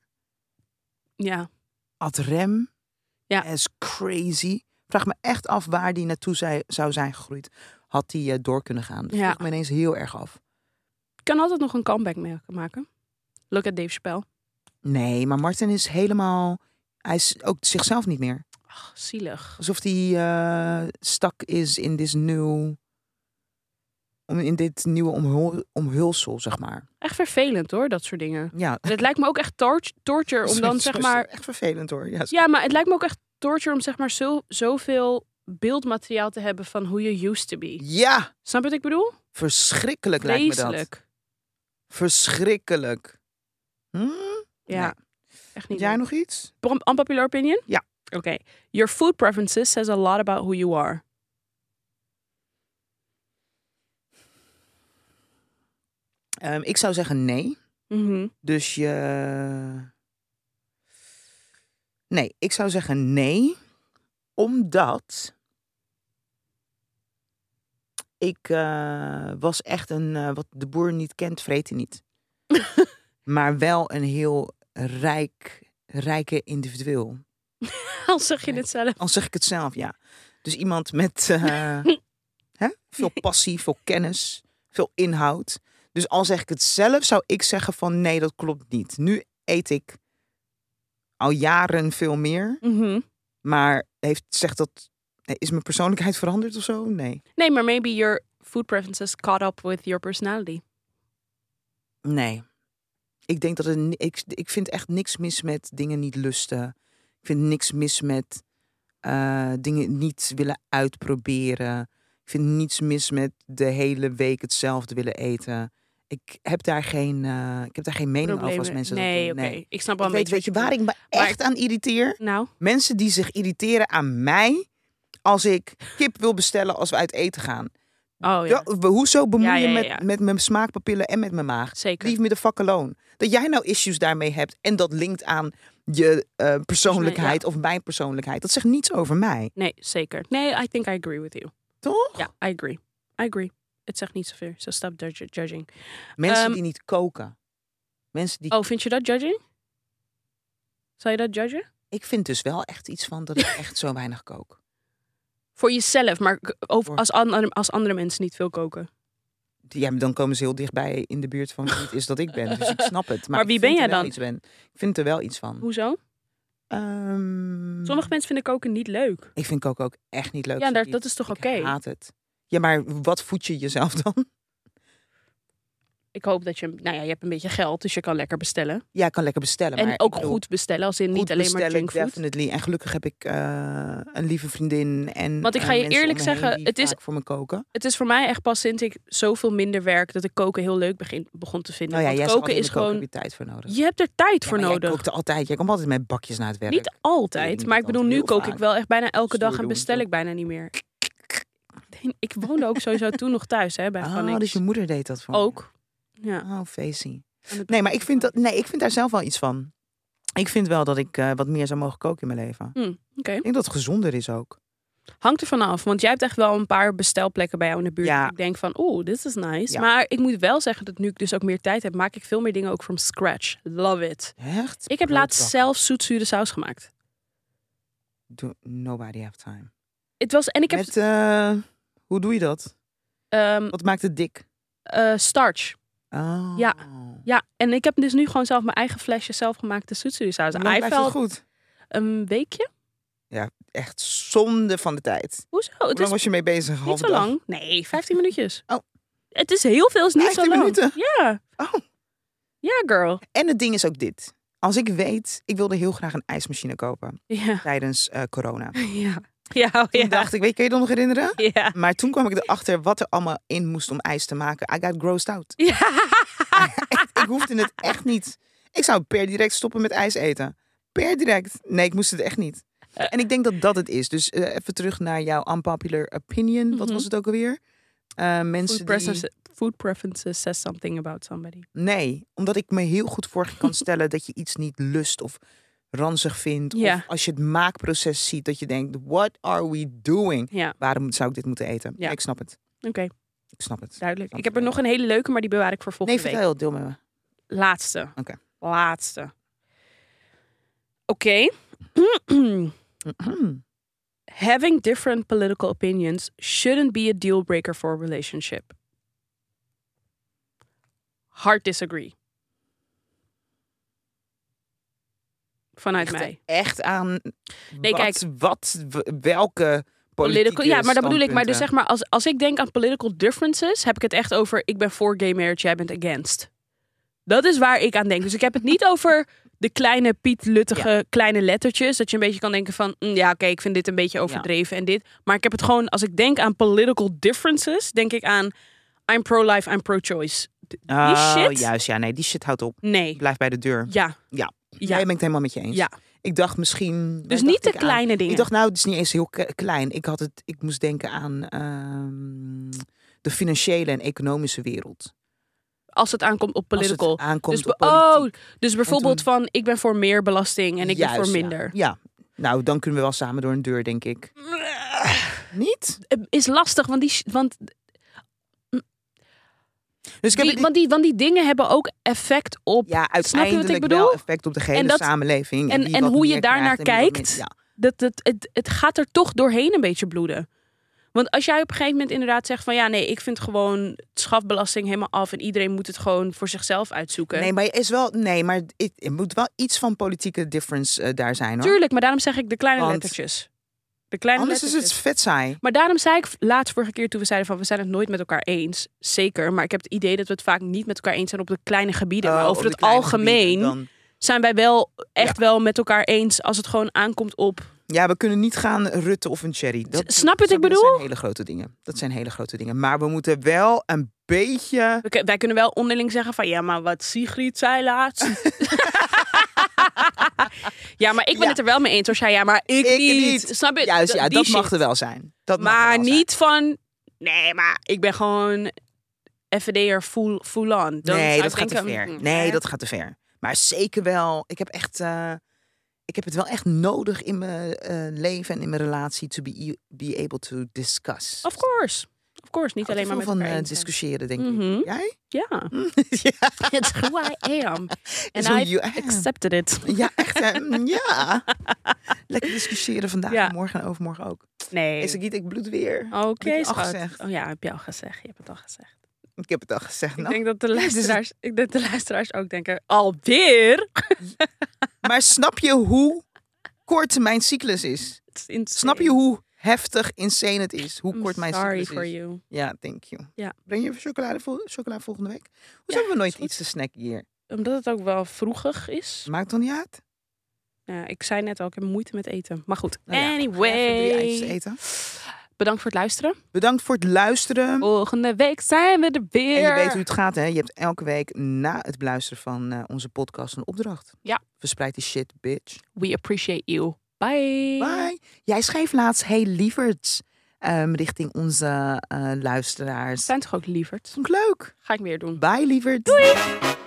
Ja. Ad rem. Ja. Is crazy. Vraag me echt af waar die naartoe zij, zou zijn gegroeid. Had die eh, door kunnen gaan. Dat Ja. vroeg me ineens heel erg af. Kan altijd nog een comeback mee- maken. Look at Dave Chappelle. Nee, maar Martin is helemaal... Hij is ook zichzelf niet meer. Ach, zielig. Alsof hij stak is in dit nieuw... om- In dit nieuwe omhul, omhulsel, zeg maar. Echt vervelend hoor, dat soort dingen. Ja. En Het lijkt me ook echt tor- torture (laughs) om dan zeg maar... Echt vervelend hoor. Ja, Ja, maar het lijkt me ook echt torture om zeg maar zo, zoveel beeldmateriaal te hebben van hoe je used to be. Ja, Snap je wat ik bedoel? verschrikkelijk lijkt me dat. Vreselijk. Verschrikkelijk. Hm? Ja. Nee. Echt Vind niet. jij leuk. nog iets? Prom- Unpopular opinion? Ja. Oké. Your food preferences says a lot about who you are. Ehm, ik zou zeggen nee. Mhm. Dus je... Nee, ik zou zeggen nee. Omdat... Ik eh, was echt een, eh, wat de boer niet kent, vreet hij (laughs) niet. maar wel een heel rijk, rijke individueel. Al zeg je dit zelf. Al zeg ik het zelf, ja. Dus iemand met eh, hè? veel passie, veel kennis, veel inhoud. Dus al zeg ik het zelf, zou ik zeggen van nee, dat klopt niet. Nu eet ik al jaren veel meer, Mhm. maar heeft, zegt dat, eh, is mijn persoonlijkheid veranderd of zo? Nee. Nee, maar maybe your food preferences caught up with your personality. Nee. Ik denk dat het, ni- ik, ik vind echt niks mis met dingen niet lusten. Ik vind niks mis met eh, dingen niet willen uitproberen. Ik vind niets mis met de hele week hetzelfde willen eten. Ik heb daar geen, eh, ik heb daar geen mening over als Problemen. mensen dat nee, doen. oké. Ik snap wel Ik een weet, beetje weet je waar ik me Maar- echt aan irriteer? Nou, Mensen die zich irriteren aan mij als ik kip wil bestellen als we uit eten gaan. oh ja, Wel, Hoezo bemoei Ja, ja, ja, je ja. met, met mijn smaakpapillen en met mijn maag? zeker. Leave me the fuck alone. Dat jij nou issues daarmee hebt en dat linkt aan je eh, persoonlijkheid of mijn persoonlijkheid. Dat zegt niets over mij, Nee, zeker. Nee, I think I agree with you. toch? Ja, I agree. I agree. Het zegt niet zoveel. So stop judge- judging. Mensen Ehm, die niet koken. Mensen die... Oh, vind je dat judging? Zou je dat judgen? Ik vind dus wel echt iets van dat ik echt zo weinig kook. Voor jezelf, maar k- over, Voor- als, andere, als andere mensen niet veel koken. Ja, maar dan komen ze heel dichtbij in de buurt van wie het is dat ik ben. Dus ik snap het. Maar, Maar wie ik vind ben er jij wel dan? Iets ben. Ik vind er wel iets van. Hoezo? Ehm, Sommige mensen vinden koken niet leuk. Ik vind koken ook echt niet leuk. Ja, daar, Sophie. dat is toch Ik oké? haat het. Ja, maar wat voed je jezelf dan? Ik hoop dat je, nou ja, je hebt een beetje geld, dus je kan lekker bestellen. Ja, ik kan lekker bestellen. maar En ook ik bedoel, goed bestellen, als in niet Goed alleen maar bestellen, junkfood. Definitely. En gelukkig heb ik eh, een lieve vriendin en Want ik eh, ga je mensen eerlijk om me heen zeggen, die het is- vaak voor me koken. Het is voor mij echt pas sinds ik zoveel minder werk, dat ik koken heel leuk begin, begon te vinden. Nou ja, Want jij koken is gewoon, Heb je tijd voor nodig? je hebt er tijd voor Ja, maar nodig. Jij kookt altijd. Jij komt altijd met bakjes naar het werk. Niet altijd, niet maar ik bedoel, nu altijd, heel kook ik vaak. wel echt bijna elke dag Stoer en doen, bestel toch? ik bijna niet meer. (laughs) Nee, Ik woonde ook sowieso toen nog thuis, hè, bij Ah, Phonics. dus je moeder deed dat voor je. Ook. Ja. Oh, feestie. aan het Nee, begin maar ik van vind, dat, Phonics. nee, ik vind daar zelf wel iets van. Ik vind wel dat ik eh, wat meer zou mogen koken in mijn leven. Oké. Ik denk dat het gezonder is ook. Hangt er vanaf, want jij hebt echt wel een paar bestelplekken bij jou in de buurt. Ja. dat Ik denk van, oeh, dit is nice. Ja. Maar ik moet wel zeggen dat nu ik dus ook meer tijd heb, maak ik veel meer dingen ook from scratch. Love it. Echt? Ik heb laatst Broodbakken. zelf zoetzure saus gemaakt. Do- Nobody have time. Het was, en ik heb Met, eh, hoe doe je dat? ehm, Wat maakt het dik? eh, starch. Oh. Ja. Ja, en ik heb dus nu gewoon zelf mijn eigen flesje zelfgemaakte zoetzure saus. Hoe lang Hij blijft het valt goed? een weekje. echt zonde van de tijd. Hoezo? Hoe Oh, Het lang is was je mee bezig? Half Niet zo lang. Nee, 15 minuutjes. Oh. Het is heel veel, is niet zo 15 lang. minuten? Ja. Oh. Ja, girl. En het ding is ook dit. Als ik weet, ik wilde heel graag een ijsmachine kopen Ja. (laughs) tijdens eh, corona. Toen Ja. Ja, oh ja. dacht ik, weet je, kun je dat nog herinneren? Ja. Maar toen kwam ik erachter wat er allemaal in moest om ijs te maken. I got grossed out. Ja. ik hoefde (laughs) het echt niet. Ik zou per direct stoppen met ijs eten. Per direct. Nee, ik moest het echt niet. Eh. En ik denk dat dat het is. Dus eh, even terug naar jouw unpopular opinion. Wat Mhm. was het ook alweer? Eh, mensen Food, die... preferences, food preferences says something about somebody. Nee, omdat ik me heel goed voor kan (laughs) stellen dat je iets niet lust of ranzig vindt. Ja. Of als je het maakproces ziet, dat je denkt, what are we doing? Ja, Waarom zou ik dit moeten eten? Ja. Ik snap het. oké, Ik snap het. duidelijk. Ik heb er nog een hele leuke, maar die bewaar ik voor nee, volgende week. vertel, deel met me. Laatste. Oké. Laatste. Oké. (clears throat) Having different political opinions shouldn't be a deal breaker for a relationship. Hard disagree. Vanuit Ligt er mij. Hm, Echt aan Nee, wat, kijk. wat, w- welke politieke ja, maar dat bedoel ik. Maar standpunten. dus zeg maar, als, als ik denk aan political differences, heb ik het echt over ik ben voor gay marriage, jij bent against. Dat is waar ik aan denk. Dus ik heb het (laughs) niet over de kleine Piet Luttige kleine lettertjes. Dat je een beetje kan denken van, mm, ja oké, ik vind dit een beetje overdreven en dit. Maar ik heb het gewoon, als ik denk aan political differences, denk ik aan I'm pro-life, I'm pro-choice. D- Die Oh, shit? juist, ja, nee, die shit houdt op. Nee. Blijf bij de deur. Ja. Ja. Ja. Jij bent het helemaal met je eens. Ja. Ik dacht misschien... Dus waar niet de dacht ik aan? kleine dingen. Ik dacht, nou, het is niet eens heel ke- klein. Ik, had het, ik moest denken aan ehm, de financiële en economische wereld. Als het aankomt op Als het political. aankomt dus, op be- politiek. Oh, dus bijvoorbeeld van ik ben voor meer belasting en ik ben voor Juist, ja. (laughs) minder. Ja. Nou, dan kunnen we wel samen door een deur, denk ik. Niet? Ehm, is lastig, want die, sh- want, Dus ik heb die, het- want, die, want die dingen hebben ook effect op ja, snap je wat uiteindelijk ik wel bedoel? effect op de hele En dat- samenleving. en- wie en wat hoe je meer daarnaar krijgt en wie wat kijkt. minder- dat het, het, het gaat er toch doorheen een beetje bloeden. Want als jij op een gegeven moment inderdaad zegt van ja, nee, ik vind gewoon schafbelasting helemaal af en iedereen moet het gewoon voor zichzelf uitzoeken. ja. Nee, maar je is wel, nee, maar het, het moet wel iets van politieke difference eh, daar zijn hoor. Tuurlijk, maar daarom zeg ik de kleine Want- lettertjes. De kleine Anders is het lettertjes. vet saai. Maar daarom zei ik laatst vorige keer toen we zeiden van we zijn het nooit met elkaar eens. Zeker, maar ik heb het idee dat we het vaak niet met elkaar eens zijn op de kleine gebieden. maar Oh, over op het de kleine algemeen gebieden dan- zijn wij wel echt wel met elkaar eens als het gewoon aankomt op Ja, we kunnen niet gaan rutten of een cherry. Dat, S- snap je wat ik Dat bedoel? zijn hele grote dingen. Dat zijn hele grote dingen. Maar we moeten wel een beetje. We kun- wij kunnen wel onderling zeggen van ja, maar wat Sigrid (laughs) zei laatst. ja, maar ik ben Ja. het er wel mee eens. Als jij ja, maar ik, Ik niet. niet. Snap je? Juist, Dat- ja, die dat mag shit. er wel zijn. Dat mag er Maar wel zijn. niet van nee, maar ik ben gewoon FVD'er full, full on. Dan zou nee, ik dat gaat te denken, ver. mm, Nee, hè? dat gaat te ver. Maar zeker wel. Ik heb echt. eh, ik heb het wel echt nodig in mijn eh, leven en in mijn relatie to be, e- be able to discuss. Of course. Of course, niet Ik hou alleen te maar met veel van elkaar eh, eens zijn. discussiëren, denk Mhm. ik. Jij? (laughs) Ja, ja, it's who I am. And is hoe I you am. accepted it. ja, echt. hè? Mm, ja. Lekker discussiëren vandaag, Ja. Oh. en morgen en overmorgen ook. Nee. Is ik niet, ik bloed weer. Oké, heb je al schat. gezegd. Oh ja, heb je al gezegd. Je hebt het al gezegd. Ik heb het al gezegd. Ik nou. denk (laughs) dat de dit is- luisteraars, ik denk dat de luisteraars ook denken, alweer? Maar snap je hoe kort mijn cyclus is? Het is insane. Snap je hoe heftig insane het is? Hoe I'm kort mijn sorry cyclus for is? you. Ja, thank you. Ja. Breng je even chocolade, vol- chocola volgende week? Hoezo Ja, hebben we nooit is goed. iets te snacken hier? Omdat het ook wel vroegig is. Maakt toch niet uit? Ja, ik zei net al, ik heb moeite met eten. Maar goed, Nou ja, Even drie eitjes anyway. eten. Bedankt voor het luisteren. Bedankt voor het luisteren. Volgende week zijn we er weer. Hm? En je weet hoe het gaat, hè? Je hebt elke week na het luisteren van eh, onze podcast een opdracht. Ja. Verspreid die shit, bitch. We appreciate you. Bye. Bye. Jij schreef laatst, hey lieverds, ehm, richting onze eh, luisteraars. Zijn toch ook lieverd? Vond ik leuk. Ga ik weer doen. Bye lieverds. Doei.